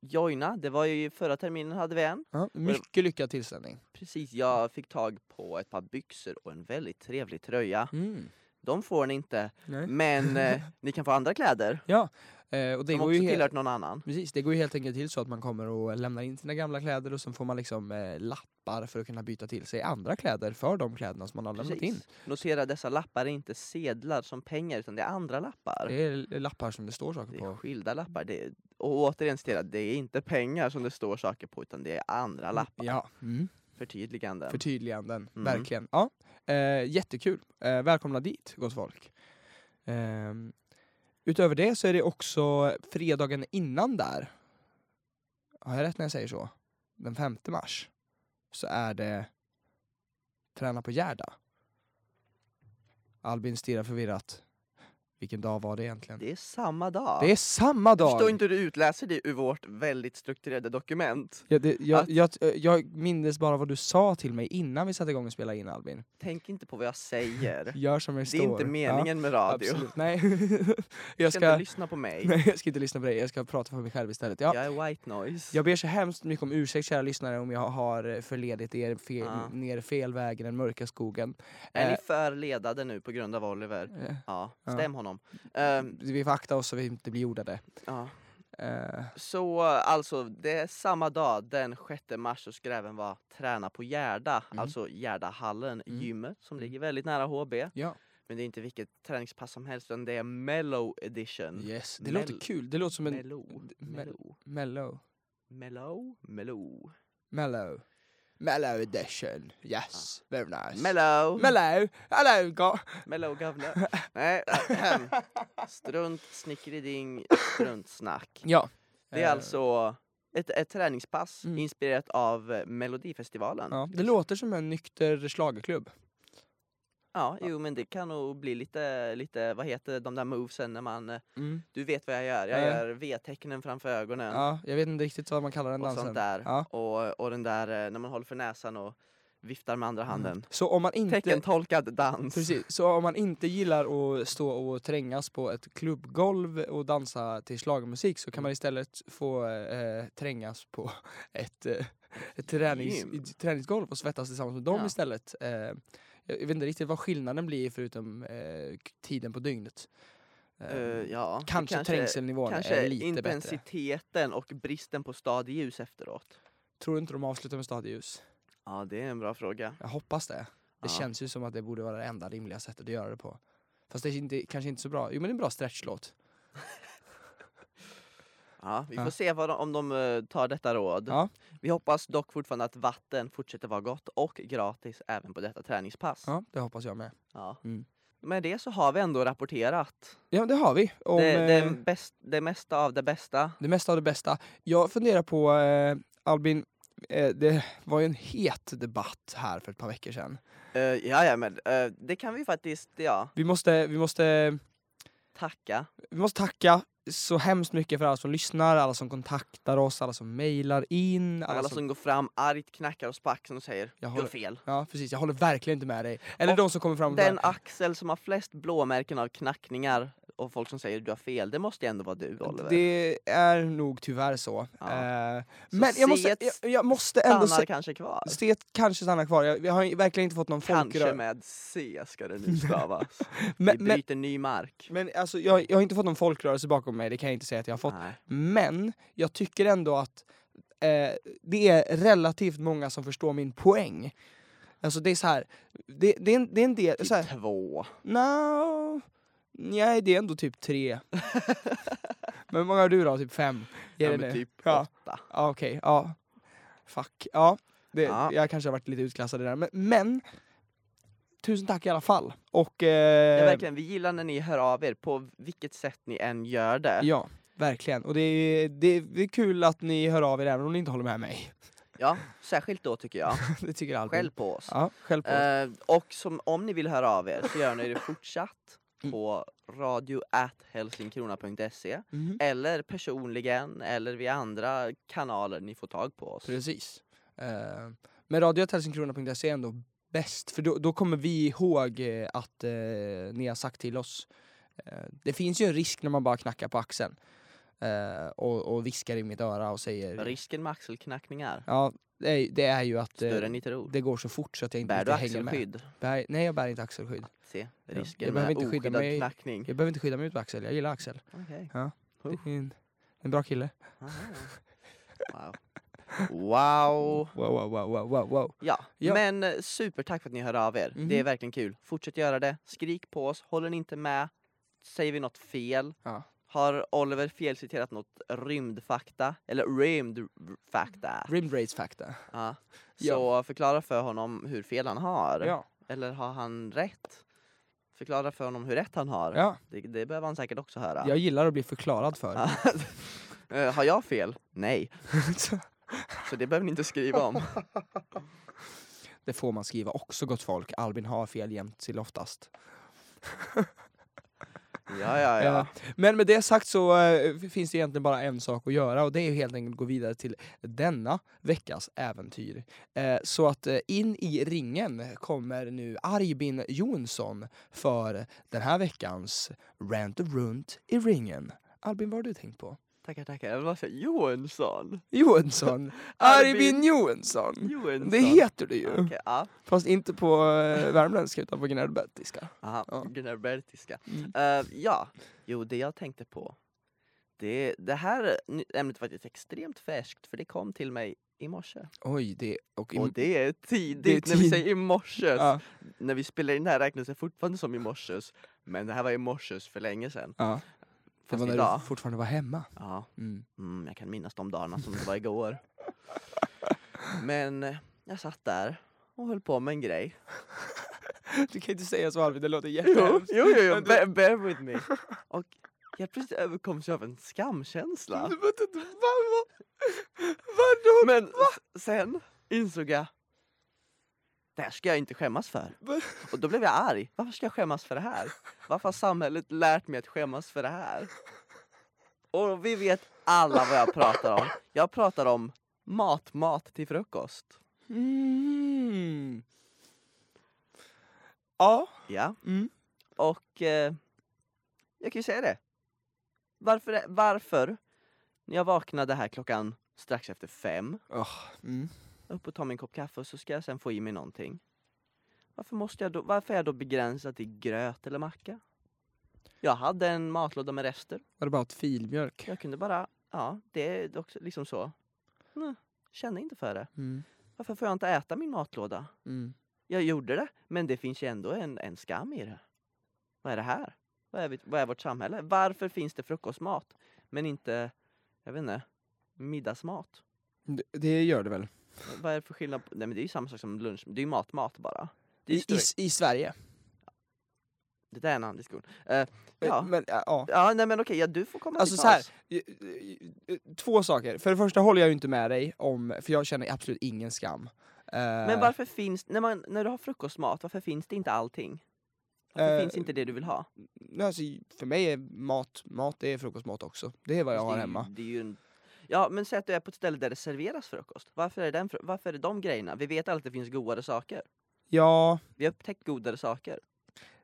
Speaker 1: joina, det var ju förra terminen hade vi en.
Speaker 2: Ja, mycket lyckad tillställning.
Speaker 1: Precis, jag fick tag på ett par byxor och en väldigt trevlig tröja.
Speaker 2: Mm.
Speaker 1: De får ni inte,
Speaker 2: Nej.
Speaker 1: men
Speaker 2: (laughs)
Speaker 1: eh, ni kan få andra kläder.
Speaker 2: Eh, och det
Speaker 1: Som
Speaker 2: går
Speaker 1: också
Speaker 2: ju helt,
Speaker 1: tillhört någon annan.
Speaker 2: precis, det går ju helt enkelt till så att man kommer och lämnar in sina gamla kläder och sen får man liksom eh, lappar för att kunna byta till sig andra kläder för de kläderna som man har lämnat in.
Speaker 1: Precis. Notera dessa lappar är inte sedlar som pengar utan det är andra lappar.
Speaker 2: Det är lappar som det står saker
Speaker 1: Det är
Speaker 2: på.
Speaker 1: skilda lappar. Det är, och återigen citera, det är inte pengar som det står saker på utan det är andra lappar.
Speaker 2: Ja. Mm.
Speaker 1: Förtydliganden.
Speaker 2: förtydliganden.
Speaker 1: Mm.
Speaker 2: Verkligen. Ja. Eh, jättekul. Eh, välkomna dit, gott folk. Eh, utöver det så är det också fredagen innan där. Har jag rätt när jag säger så? Den 5 mars. Så är det Träna på Gärda. Albin stirrar förvirrat. Vilken dag var det egentligen?
Speaker 1: det är samma dag.
Speaker 2: Det är samma
Speaker 1: Jag förstår
Speaker 2: dag!
Speaker 1: inte hur du utläser det ur vårt väldigt strukturerade dokument.
Speaker 2: Ja, det, jag, jag, jag mindes bara vad du sa till mig innan vi satte igång och spelade in Albin.
Speaker 1: Tänk inte på vad jag säger.
Speaker 2: Gör som (laughs) jag
Speaker 1: Det
Speaker 2: står.
Speaker 1: är inte
Speaker 2: Ja.
Speaker 1: meningen med radio.
Speaker 2: Absolut, nej. (laughs)
Speaker 1: Du ska
Speaker 2: jag, (laughs)
Speaker 1: inte
Speaker 2: ska,
Speaker 1: lyssna på mig.
Speaker 2: nej jag ska inte lyssna på dig, jag ska prata för mig själv istället. Ja.
Speaker 1: Jag är white noise.
Speaker 2: Jag ber så hemskt mycket om ursäkt kära lyssnare om jag har eh, förledit er fel,
Speaker 1: Ja.
Speaker 2: ner fel väg i den mörka skogen.
Speaker 1: Är ni
Speaker 2: Eh,
Speaker 1: för ledade nu på grund av Oliver?
Speaker 2: eh,
Speaker 1: Ja,
Speaker 2: Ja. Mm.
Speaker 1: stäm honom. Ehm,
Speaker 2: vi får akta oss så vi inte blir jordade.
Speaker 1: ja.
Speaker 2: Eh,
Speaker 1: Så alltså, det är samma dag, den 6 mars, så ska det även vara träna på Gärda,
Speaker 2: Mm.
Speaker 1: alltså Gärdahallen,
Speaker 2: Mm.
Speaker 1: gymmet som
Speaker 2: Mm.
Speaker 1: ligger väldigt nära HB.
Speaker 2: ja,
Speaker 1: Men det är inte vilket träningspass som helst, utan det är mellow edition.
Speaker 2: yes. Det
Speaker 1: Mm. Mel-
Speaker 2: låter kul, det låter som en
Speaker 1: mellow,
Speaker 2: d- mel-
Speaker 1: mellow,
Speaker 2: mellow.
Speaker 1: mellow, mellow,
Speaker 2: Mellow. Mellow edition, yes. Very nice.
Speaker 1: mellow,
Speaker 2: Mellow, hello, go.
Speaker 1: mellow
Speaker 2: (laughs)
Speaker 1: gamla. Nej, äh, strunt snickeriding, strunt snack.
Speaker 2: Ja.
Speaker 1: Det är
Speaker 2: Eh,
Speaker 1: alltså ett, ett träningspass
Speaker 2: Mm.
Speaker 1: inspirerat av eh, Melodifestivalen. Ja.
Speaker 2: Ja, det låter som en nykter schlagerklubb.
Speaker 1: jo men det kan nog bli lite, lite, vad heter de där movesen när man, eh,
Speaker 2: Mm.
Speaker 1: du vet vad jag gör, jag
Speaker 2: Ja.
Speaker 1: gör V-tecknen framför ögonen
Speaker 2: Ja, jag vet inte riktigt vad man kallar den
Speaker 1: och
Speaker 2: dansen.
Speaker 1: sånt där.
Speaker 2: Ja.
Speaker 1: Och, och den där eh, när man håller för näsan och viftar med andra handen.
Speaker 2: Så om man Mm. inte...
Speaker 1: Teckentolkad dans.
Speaker 2: Precis, så om man inte gillar att stå och trängas på ett klubbgolv och dansa till schlagermusik så kan man istället få eh, trängas på (laughs) ett, eh, ett tränings,
Speaker 1: Gym.
Speaker 2: ett träningsgolv och svettas tillsammans med dem
Speaker 1: Ja.
Speaker 2: istället. Eh, jag jag vet inte riktigt vad skillnaden blir förutom eh, k- tiden på dygnet. Eh,
Speaker 1: Eh, ja, det
Speaker 2: kanske, trängselnivån
Speaker 1: Kanske
Speaker 2: är lite bättre.
Speaker 1: intensiteten och bristen på stadigljus efteråt.
Speaker 2: Tror du inte de avslutar med stadljus?
Speaker 1: Ja, det är en bra fråga.
Speaker 2: Jag hoppas det. Det
Speaker 1: Ja.
Speaker 2: känns ju som att det borde vara det enda rimliga sättet att göra det på. Fast det är inte, kanske inte så bra. Jo men det är en bra stretchlåt.
Speaker 1: Ja, vi
Speaker 2: Ja.
Speaker 1: får se vad de, om de eh, tar detta råd.
Speaker 2: Ja.
Speaker 1: Vi hoppas dock fortfarande att vatten fortsätter vara gott och gratis även på detta träningspass.
Speaker 2: Ja, det hoppas jag med.
Speaker 1: Ja.
Speaker 2: Mm.
Speaker 1: Med det så har vi ändå rapporterat
Speaker 2: Ja, det har vi. Om,
Speaker 1: det,
Speaker 2: det,
Speaker 1: det, bäst, det mesta av det bästa.
Speaker 2: det mesta av det bästa. Jag funderar på, eh, Albin, eh, det var ju en het debatt här för ett par veckor sedan.
Speaker 1: Uh, ja, ja, men eh, det kan vi faktiskt ja,
Speaker 2: Vi måste, vi måste,
Speaker 1: tacka.
Speaker 2: vi måste tacka så hemskt mycket för alla som lyssnar, alla som kontaktar oss, alla som mejlar in.
Speaker 1: Alla, som... går fram argt, knackar oss på axeln och säger
Speaker 2: Jag
Speaker 1: du
Speaker 2: alltså- håller-
Speaker 1: har fel.
Speaker 2: Ja, precis. Jag håller verkligen inte med dig. Eller
Speaker 1: Och
Speaker 2: de som kommer fram och
Speaker 1: Den
Speaker 2: bara,
Speaker 1: axel som har flest blåmärken av knackningar och folk som säger du har fel, det måste ju ändå vara du Oliver.
Speaker 2: Det är nog tyvärr så.
Speaker 1: Ja.
Speaker 2: Eh,
Speaker 1: Så
Speaker 2: men jag måste,
Speaker 1: C1
Speaker 2: jag, jag måste ändå
Speaker 1: Stannar
Speaker 2: säga...
Speaker 1: kanske kvar.
Speaker 2: Stet kanske stannar kvar. Jag, jag har ju verkligen inte fått någon
Speaker 1: Kanske
Speaker 2: folkrörelse.
Speaker 1: med C ska det nu stavas.
Speaker 2: Men,
Speaker 1: Vi
Speaker 2: men,
Speaker 1: bryter ny mark.
Speaker 2: men alltså, jag, jag har inte fått någon folkrörelse bakom mig, det kan jag inte säga att jag har fått.
Speaker 1: Nej.
Speaker 2: Men jag tycker ändå att eh, det är relativt många som förstår min poäng. Alltså det är så här, det, det, är, en, det är en del...
Speaker 1: Typ
Speaker 2: Så här,
Speaker 1: två.
Speaker 2: no, nej, det är ändå
Speaker 1: (laughs)
Speaker 2: typ tre. men hur många har du då? Typ fem? Ge
Speaker 1: Ja,
Speaker 2: dig
Speaker 1: men
Speaker 2: nu.
Speaker 1: typ
Speaker 2: Ja.
Speaker 1: åtta.
Speaker 2: Ja, okej. ja. Fuck. Ja. Det,
Speaker 1: Ja.
Speaker 2: Jag kanske har varit lite utklassad i det där. Men, men tusen tack i alla fall. Och... Eh,
Speaker 1: Ja, verkligen, vi gillar när ni hör av er på vilket sätt ni än gör det. Ja,
Speaker 2: Ja, verkligen. Och det är, det, är, det är kul att ni hör av er även om ni inte håller med mig. (laughs)
Speaker 1: särskilt då tycker jag.
Speaker 2: det tycker jag alltid.
Speaker 1: Skäll på oss.
Speaker 2: Ja, själv på.
Speaker 1: Eh, och som, om ni vill höra av er så gör ni det fortsatt
Speaker 2: Mm.
Speaker 1: på radio@helsingkrona.se
Speaker 2: Mhm.
Speaker 1: eller personligen eller via andra kanaler ni får tag på oss.
Speaker 2: Precis. Eh, men radioatelsinkrona.se är ändå bäst, för då, då kommer vi ihåg eh, att eh, ni har sagt till oss. Eh, det finns ju en risk när man bara knackar på axeln eh, och, och viskar i mitt öra och säger...
Speaker 1: Risken med axelknackningar,
Speaker 2: Ja, det är, det är ju att eh,
Speaker 1: större än ni tror.
Speaker 2: det går så fort så att jag inte
Speaker 1: Bär du
Speaker 2: riktigt hänger med.
Speaker 1: axelskydd? Ah,
Speaker 2: Bär, nej, jag bär inte axelskydd.
Speaker 1: Se,
Speaker 2: jag
Speaker 1: risken
Speaker 2: behöver
Speaker 1: med
Speaker 2: inte skydda
Speaker 1: oskyddad
Speaker 2: mig.
Speaker 1: knackning.
Speaker 2: Jag behöver inte skydda mig ut på Axel, jag gillar Axel.
Speaker 1: Okej.
Speaker 2: Det
Speaker 1: Uff.
Speaker 2: är en, en bra kille.
Speaker 1: Aha.
Speaker 2: (laughs)
Speaker 1: Wow. Wow.
Speaker 2: Wow, wow, wow, wow, wow, wow.
Speaker 1: Ja.
Speaker 2: Ja.
Speaker 1: men eh, supertack för att ni hör av er. Det är
Speaker 2: Mhm.
Speaker 1: verkligen kul. Fortsätt göra det. Skrik på oss. Håller ni inte med, säger vi något fel.
Speaker 2: Ja.
Speaker 1: Har Oliver felciterat något rymdfakta? Eller rymdfakta?
Speaker 2: Rim race fakta.
Speaker 1: Ja.
Speaker 2: (laughs) Ja.
Speaker 1: Så förklara för honom hur fel han har.
Speaker 2: Ja.
Speaker 1: Eller har han rätt? Förklara för honom hur rätt han har.
Speaker 2: ja,
Speaker 1: Det, det behöver han säkert också höra.
Speaker 2: jag gillar att bli förklarad för.
Speaker 1: (laughs) Eh, har jag fel?
Speaker 2: (laughs)
Speaker 1: Nej. Så det behöver ni inte skriva om.
Speaker 2: det får man skriva också gott folk. Albin har fel jämt till oftast.
Speaker 1: Ja, ja, ja.
Speaker 2: Eh, Men med det sagt så eh, finns det egentligen bara en sak att göra och det är ju helt enkelt att gå vidare till denna veckas äventyr. Eh, Så att eh, in i ringen kommer nu Arbin Jonsson för den här veckans Rant och Runt i ringen. Albin, vad har du tänkt på?
Speaker 1: Tackar, tackar. Jag vill bara säga Johansson.
Speaker 2: (laughs) Johansson! Arbin Johansson!
Speaker 1: Johansson.
Speaker 2: Mm. Det heter du
Speaker 1: Okej,
Speaker 2: ju.
Speaker 1: ja.
Speaker 2: Fast inte på eh, värmländska utan på gnällbättiska.
Speaker 1: Aha,
Speaker 2: Ja.
Speaker 1: Gnarbertiska.
Speaker 2: Mm.
Speaker 1: Eh, ja, jo det jag tänkte på. Det, det här ny- ämnet var faktiskt extremt färskt för det kom till mig i morse.
Speaker 2: Oj, det... Och i,
Speaker 1: Och det är tidigt,
Speaker 2: Det är
Speaker 1: när vi
Speaker 2: tid-
Speaker 1: säger i morse.
Speaker 2: ja,
Speaker 1: När vi spelar in det här räknas det fortfarande som i morse. Men det här var i morse för länge sedan.
Speaker 2: ja. Det
Speaker 1: Fast
Speaker 2: var när
Speaker 1: idag.
Speaker 2: du fortfarande var hemma.
Speaker 1: Ja,
Speaker 2: Mm.
Speaker 1: Mm, jag kan minnas de dagarna som det var
Speaker 2: (laughs)
Speaker 1: igår. Men eh, jag satt där och höll på med en grej.
Speaker 2: Du kan inte säga så Arvid, det låter
Speaker 1: Jo,
Speaker 2: jättehemskt.
Speaker 1: jo, jo,
Speaker 2: Men du-
Speaker 1: bear, bear with
Speaker 2: (laughs)
Speaker 1: me. Och jag plötsligt överkoms jag av en skamkänsla.
Speaker 2: Du vet inte, va, va?
Speaker 1: Men s- sen insåg jag, det här ska jag inte skämmas för.
Speaker 2: Va?
Speaker 1: Och då blev jag arg. Varför ska jag skämmas för det här? Varför har samhället lärt mig att skämmas för det här? Och vi vet alla vad jag pratar om. Jag pratar om matmat till frukost.
Speaker 2: Mm. Ja.
Speaker 1: Ja.
Speaker 2: Mm.
Speaker 1: Och eh, jag kan ju säga det. Varför, varför, när jag vaknade här klockan strax efter fem,
Speaker 2: Mm.
Speaker 1: upp och tar min kopp kaffe och så ska jag sen få i mig någonting. Varför, måste jag då, varför är jag då begränsad till gröt eller macka? Jag hade en matlåda med rester.
Speaker 2: Var det bara ett filmjölk?
Speaker 1: Jag kunde bara, ja, det är också liksom så. Nej, kände inte för det.
Speaker 2: Mm.
Speaker 1: Varför får jag inte äta min matlåda?
Speaker 2: Mm.
Speaker 1: Jag gjorde det, men det finns ju ändå en, en skam i det. Vad är det här? Vad är, vi, vad är vårt samhälle? Varför finns det frukostmat, men inte, jag vet inte, middagsmat?
Speaker 2: Det, det gör det väl?
Speaker 1: Vad är det för skillnad? På, nej men det är ju samma sak som lunch, det är ju matmat bara. Det, är
Speaker 2: I,
Speaker 1: ju
Speaker 2: i,
Speaker 1: stor-
Speaker 2: I Sverige?
Speaker 1: det där är en annan diskussion. Eh, ja.
Speaker 2: Men, ja.
Speaker 1: ja, nej men okej, ja, du får komma
Speaker 2: Alltså
Speaker 1: till
Speaker 2: så här,
Speaker 1: tals.
Speaker 2: eh, Två saker. För det första håller jag ju inte med dig om, för jag känner absolut ingen skam. Eh,
Speaker 1: Men varför finns, när, man, när du har frukostmat, varför finns det inte allting? Varför
Speaker 2: Eh,
Speaker 1: finns inte det du vill ha?
Speaker 2: Nej, Alltså, för mig är mat, mat det är frukostmat också. Det är vad jag
Speaker 1: Fast
Speaker 2: har
Speaker 1: det är ju-
Speaker 2: hemma.
Speaker 1: Det är ju en... Ja, men säg att du är på ett ställe där det serveras frukost. Varför är, den, fru- varför är det de grejerna? Vi vet alltid att det finns godare saker.
Speaker 2: Ja,
Speaker 1: Vi har upptäckt godare saker.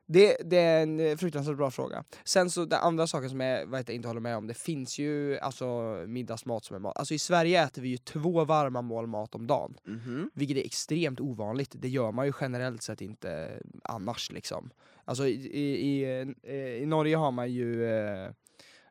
Speaker 2: det, det är en eh, fruktansvärt bra fråga. Sen så den andra saken som jag, vad heter det, inte håller med om, det finns ju alltså middagsmat som är mat. Alltså i Sverige äter vi ju två varma mål mat om dagen.
Speaker 1: Mhm.
Speaker 2: Vilket är extremt ovanligt, det gör man ju generellt sett inte eh, annars liksom. Alltså i, i, i, eh, i Norge har man ju eh,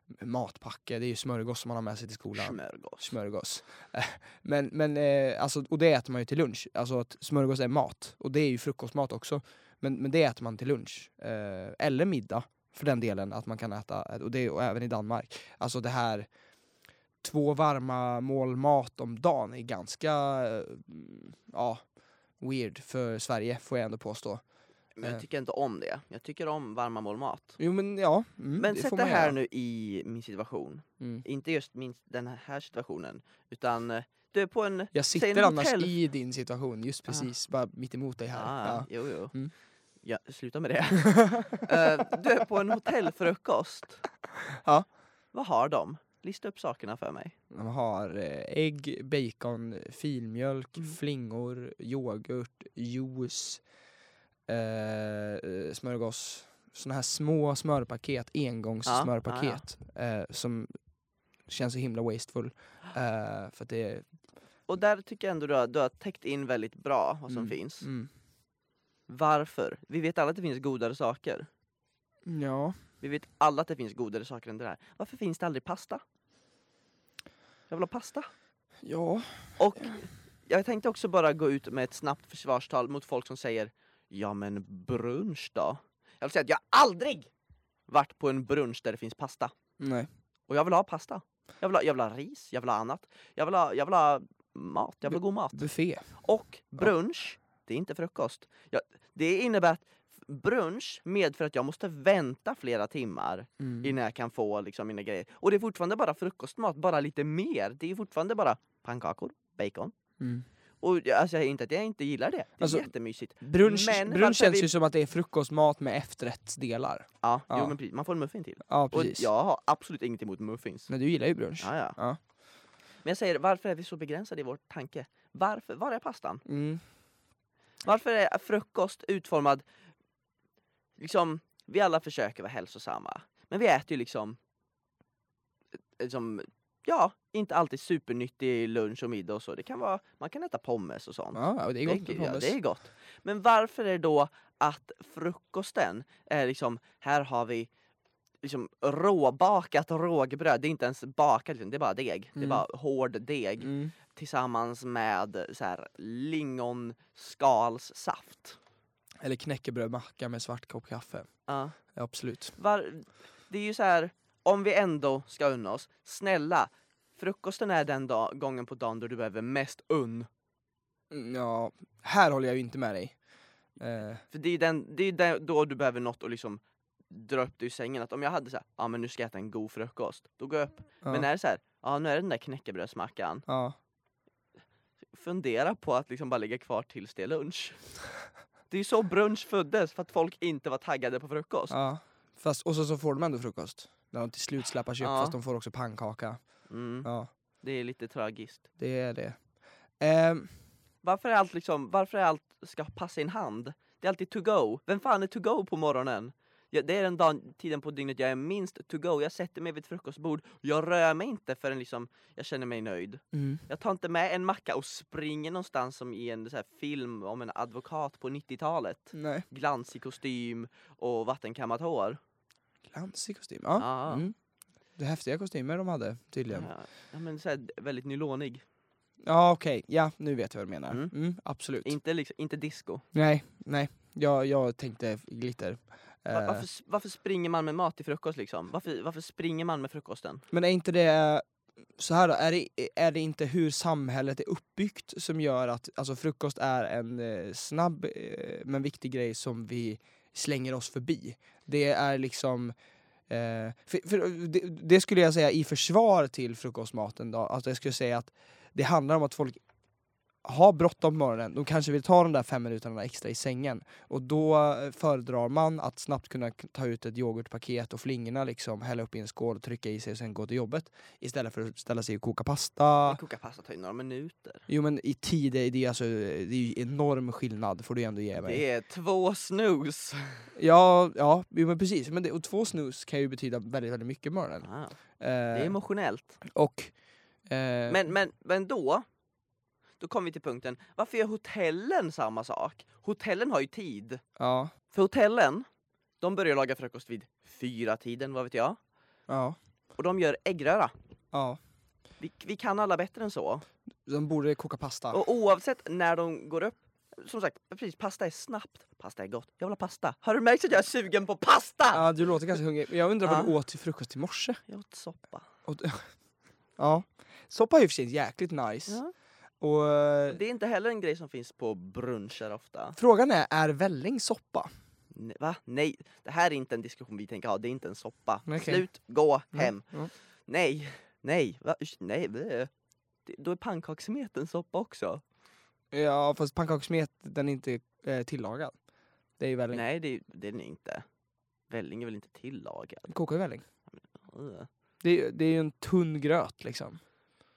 Speaker 2: matpacke, det är ju smörgås som man har med sig till skolan.
Speaker 1: Smörgås.
Speaker 2: Smörgås. Eh, Men, men eh, alltså, och det äter man ju till lunch, alltså att smörgås är mat. Och det är ju frukostmat också. Men, men det äter man till lunch. Eh, eller middag, för den delen, att man kan äta, eh, och det och även i Danmark. Alltså det här, två varma mål mat om dagen är ganska, eh, ja, weird för Sverige får jag ändå påstå.
Speaker 1: Men jag
Speaker 2: Eh.
Speaker 1: tycker inte om det. Jag tycker om varma mål mat.
Speaker 2: Jo men ja, mm,
Speaker 1: Men
Speaker 2: det
Speaker 1: sätt
Speaker 2: får
Speaker 1: det
Speaker 2: man
Speaker 1: här
Speaker 2: göra.
Speaker 1: nu i min situation.
Speaker 2: Mm.
Speaker 1: Inte just min, den här situationen, utan eh, du är på en...
Speaker 2: Jag
Speaker 1: Säg
Speaker 2: sitter
Speaker 1: en
Speaker 2: annars
Speaker 1: hotell-
Speaker 2: i din situation, just
Speaker 1: Ah.
Speaker 2: precis, bara mitt emot dig här.
Speaker 1: Ah,
Speaker 2: Ja.
Speaker 1: Jo, jo.
Speaker 2: Mm.
Speaker 1: Ja, sluta
Speaker 2: (laughs)
Speaker 1: med det. Eh, du är på en hotellfrukost.
Speaker 2: Ja.
Speaker 1: Vad har de? Lista upp sakerna för mig.
Speaker 2: De har eh, ägg, bacon, filmjölk,
Speaker 1: Mm.
Speaker 2: flingor, yoghurt, juice, eh, eh, smörgås. Såna här små smörpaket, engångssmörpaket. Eh, som känns så himla wasteful. Eh, för att det är...
Speaker 1: Och där tycker jag ändå du har, du har täckt in väldigt bra vad som
Speaker 2: Mm,
Speaker 1: finns.
Speaker 2: Mm.
Speaker 1: Varför? Vi vet alla att det finns godare saker.
Speaker 2: Ja.
Speaker 1: Vi vet alla att det finns godare saker än det där. Varför finns det aldrig pasta? Jag vill ha pasta.
Speaker 2: Ja.
Speaker 1: Och jag tänkte också bara gå ut med ett snabbt försvarstal mot folk som säger Ja men brunch då? Jag vill säga att jag aldrig varit på en brunch där det finns pasta.
Speaker 2: Nej.
Speaker 1: Och jag vill ha pasta. Jag vill ha, jag vill ha ris, jag vill ha annat. Jag vill ha, jag vill ha mat, jag vill ha god mat.
Speaker 2: Buffé.
Speaker 1: Och brunch, det är inte frukost. Ja, det innebär att brunch medför att jag måste vänta flera timmar
Speaker 2: Mm.
Speaker 1: innan jag kan få liksom, mina grejer. Och det är fortfarande bara frukostmat, bara lite mer. Det är fortfarande bara pannkakor, bacon.
Speaker 2: Mm.
Speaker 1: Och jag- alltså, jag- inte att jag inte gillar det, det är
Speaker 2: Alltså-
Speaker 1: jättemysigt.
Speaker 2: Brunch,
Speaker 1: Men
Speaker 2: brunch
Speaker 1: varför
Speaker 2: känns
Speaker 1: vi-
Speaker 2: ju som att det är frukostmat med efterrättsdelar.
Speaker 1: Ja, Jo,
Speaker 2: Ja.
Speaker 1: men precis, man får en muffin till.
Speaker 2: Ja,
Speaker 1: Och
Speaker 2: precis.
Speaker 1: jag har absolut inget emot muffins.
Speaker 2: Men du gillar ju brunch.
Speaker 1: Ja, ja.
Speaker 2: Ja.
Speaker 1: Men jag säger, varför är vi så begränsade i vår tanke? Varför, var är pastan?
Speaker 2: Mm.
Speaker 1: Varför är frukost utformad... Liksom, vi alla försöker vara hälsosamma. Men vi äter ju liksom... liksom ja, inte alltid supernyttig lunch och middag och så. Det kan vara, man kan äta pommes och sånt.
Speaker 2: Ja, och det är gott med
Speaker 1: ja,
Speaker 2: pommes.
Speaker 1: det är gott. Men varför är det då att frukosten är liksom, här har vi liksom råbakat rågbröd. Det är inte ens bakat, liksom, det är bara deg. Det är
Speaker 2: Mm.
Speaker 1: bara hård deg
Speaker 2: Mm.
Speaker 1: tillsammans med så här, lingonskalssaft.
Speaker 2: Eller knäckebrödmacka med svart kopp kaffe.
Speaker 1: Ja.
Speaker 2: Ja, absolut.
Speaker 1: Var, det är ju så här, om vi ändå ska unna oss, snälla, frukosten är den dag, gången på dagen då du behöver mest unn.
Speaker 2: Mm, Ja, här håller jag ju inte med dig. Eh,
Speaker 1: För det är ju den, det är ju den, då du behöver något att liksom dra upp dig ur sängen. Att om jag hade så här, ja men nu ska jag äta en god frukost, då går jag upp.
Speaker 2: ja,
Speaker 1: Men är det så här, ja nu är det den där knäckebrödsmackan,
Speaker 2: ja.
Speaker 1: fundera på att liksom bara ligga kvar tills det är
Speaker 2: (laughs)
Speaker 1: lunch. Det är ju så brunch föddes, för att folk inte var taggade på frukost.
Speaker 2: Ja. Fast, och så, så får de ändå frukost. När de till slut släpar sig upp
Speaker 1: Ja.
Speaker 2: fast de får också pannkaka.
Speaker 1: Mm,
Speaker 2: Ja,
Speaker 1: det är lite tragiskt.
Speaker 2: det är det. Ehm,
Speaker 1: Varför är allt liksom, varför är allt ska passa i en hand? Det är alltid to go. Vem fan är to go på morgonen? Ja, det är den dagen, tiden på dygnet jag är minst to go. Jag sätter mig vid ett frukostbord. Jag rör mig inte förrän liksom, jag känner mig nöjd.
Speaker 2: mm.
Speaker 1: Jag tar inte med en macka och springer någonstans som i en så här film om en advokat på 90-talet.
Speaker 2: Nej.
Speaker 1: Glansig kostym och vattenkammat hår.
Speaker 2: Glansig kostym. Ja.
Speaker 1: Ja.
Speaker 2: Mm. Det är häftiga kostymer de hade tydligen. Ja,
Speaker 1: Ja, ja, men så här, väldigt nylånig.
Speaker 2: okej. Ja, nu vet jag vad du menar. Mm.
Speaker 1: Mm.
Speaker 2: absolut.
Speaker 1: Inte, liksom, inte disco.
Speaker 2: Nej, nej. Jag, jag tänkte glitter.
Speaker 1: Va-
Speaker 2: Eh,
Speaker 1: Varför, s- varför springer man med mat till frukost liksom? Varför, varför springer man med frukosten?
Speaker 2: Men är inte det, så här då, är det, är det inte hur samhället är uppbyggt som gör att alltså frukost är en eh, snabb eh, men viktig grej som vi slänger oss förbi? Det är liksom eh, för, för, det, det skulle jag säga i försvar till frukostmaten då, alltså jag skulle säga att det handlar om att folk har bråttom på morgonen, de kanske vill ta de där fem minuterna extra i sängen och då eh, föredrar man att snabbt kunna k- ta ut ett yoghurtpaket och flingorna liksom, hälla upp i en skål, trycka i sig och sen gå till jobbet istället för att ställa sig och koka pasta.
Speaker 1: Jag kokar pasta tar ju några minuter.
Speaker 2: Jo men i tid är det alltså, det är ju enorm skillnad får du ändå ge mig.
Speaker 1: Det är två snus.
Speaker 2: Ja, ja, jo men precis. Men det, och två snus kan ju betyda väldigt, väldigt mycket på morgonen.
Speaker 1: Ah,
Speaker 2: Eh,
Speaker 1: det är emotionellt.
Speaker 2: Och... Eh,
Speaker 1: Men, men, men då, då kommer vi till punkten, varför gör hotellen samma sak? Hotellen har ju tid.
Speaker 2: ja,
Speaker 1: För hotellen, de börjar laga frukost vid fyra tiden, vad vet jag.
Speaker 2: ja,
Speaker 1: Och de gör äggröra.
Speaker 2: ja.
Speaker 1: Vi, vi kan alla bättre än så.
Speaker 2: De borde koka pasta.
Speaker 1: Och oavsett när de går upp, som sagt, precis, pasta är snabbt, pasta är gott, jag vill ha pasta. Har du märkt att jag är sugen på pasta?
Speaker 2: Ja, du låter ganska hungrig. Jag undrar vad
Speaker 1: Ja.
Speaker 2: du åt till frukost i morse?
Speaker 1: Jag åt soppa.
Speaker 2: Och, ja. Soppa är ju för sig jäkligt nice.
Speaker 1: Ja.
Speaker 2: Och, eh,
Speaker 1: Det är inte heller en grej som finns på bruncher ofta.
Speaker 2: Frågan är, är välling soppa?
Speaker 1: Ne- Va? Nej, det här är inte en diskussion vi tänker ha, det är inte en soppa.
Speaker 2: Okej.
Speaker 1: Slut, gå,
Speaker 2: Mm,
Speaker 1: hem.
Speaker 2: ja.
Speaker 1: Nej, nej, va? Usch, nej. blö. Det, då är pannkakssmet en soppa också.
Speaker 2: Ja, fast pannkakssmet den är inte eh, tillagad. Det är ju välling.
Speaker 1: Nej, det, det är den inte. Välling är väl inte tillagad?
Speaker 2: Den kokar ju välling.
Speaker 1: Ugh.
Speaker 2: Det är, ju- det är ju en tunn gröt liksom.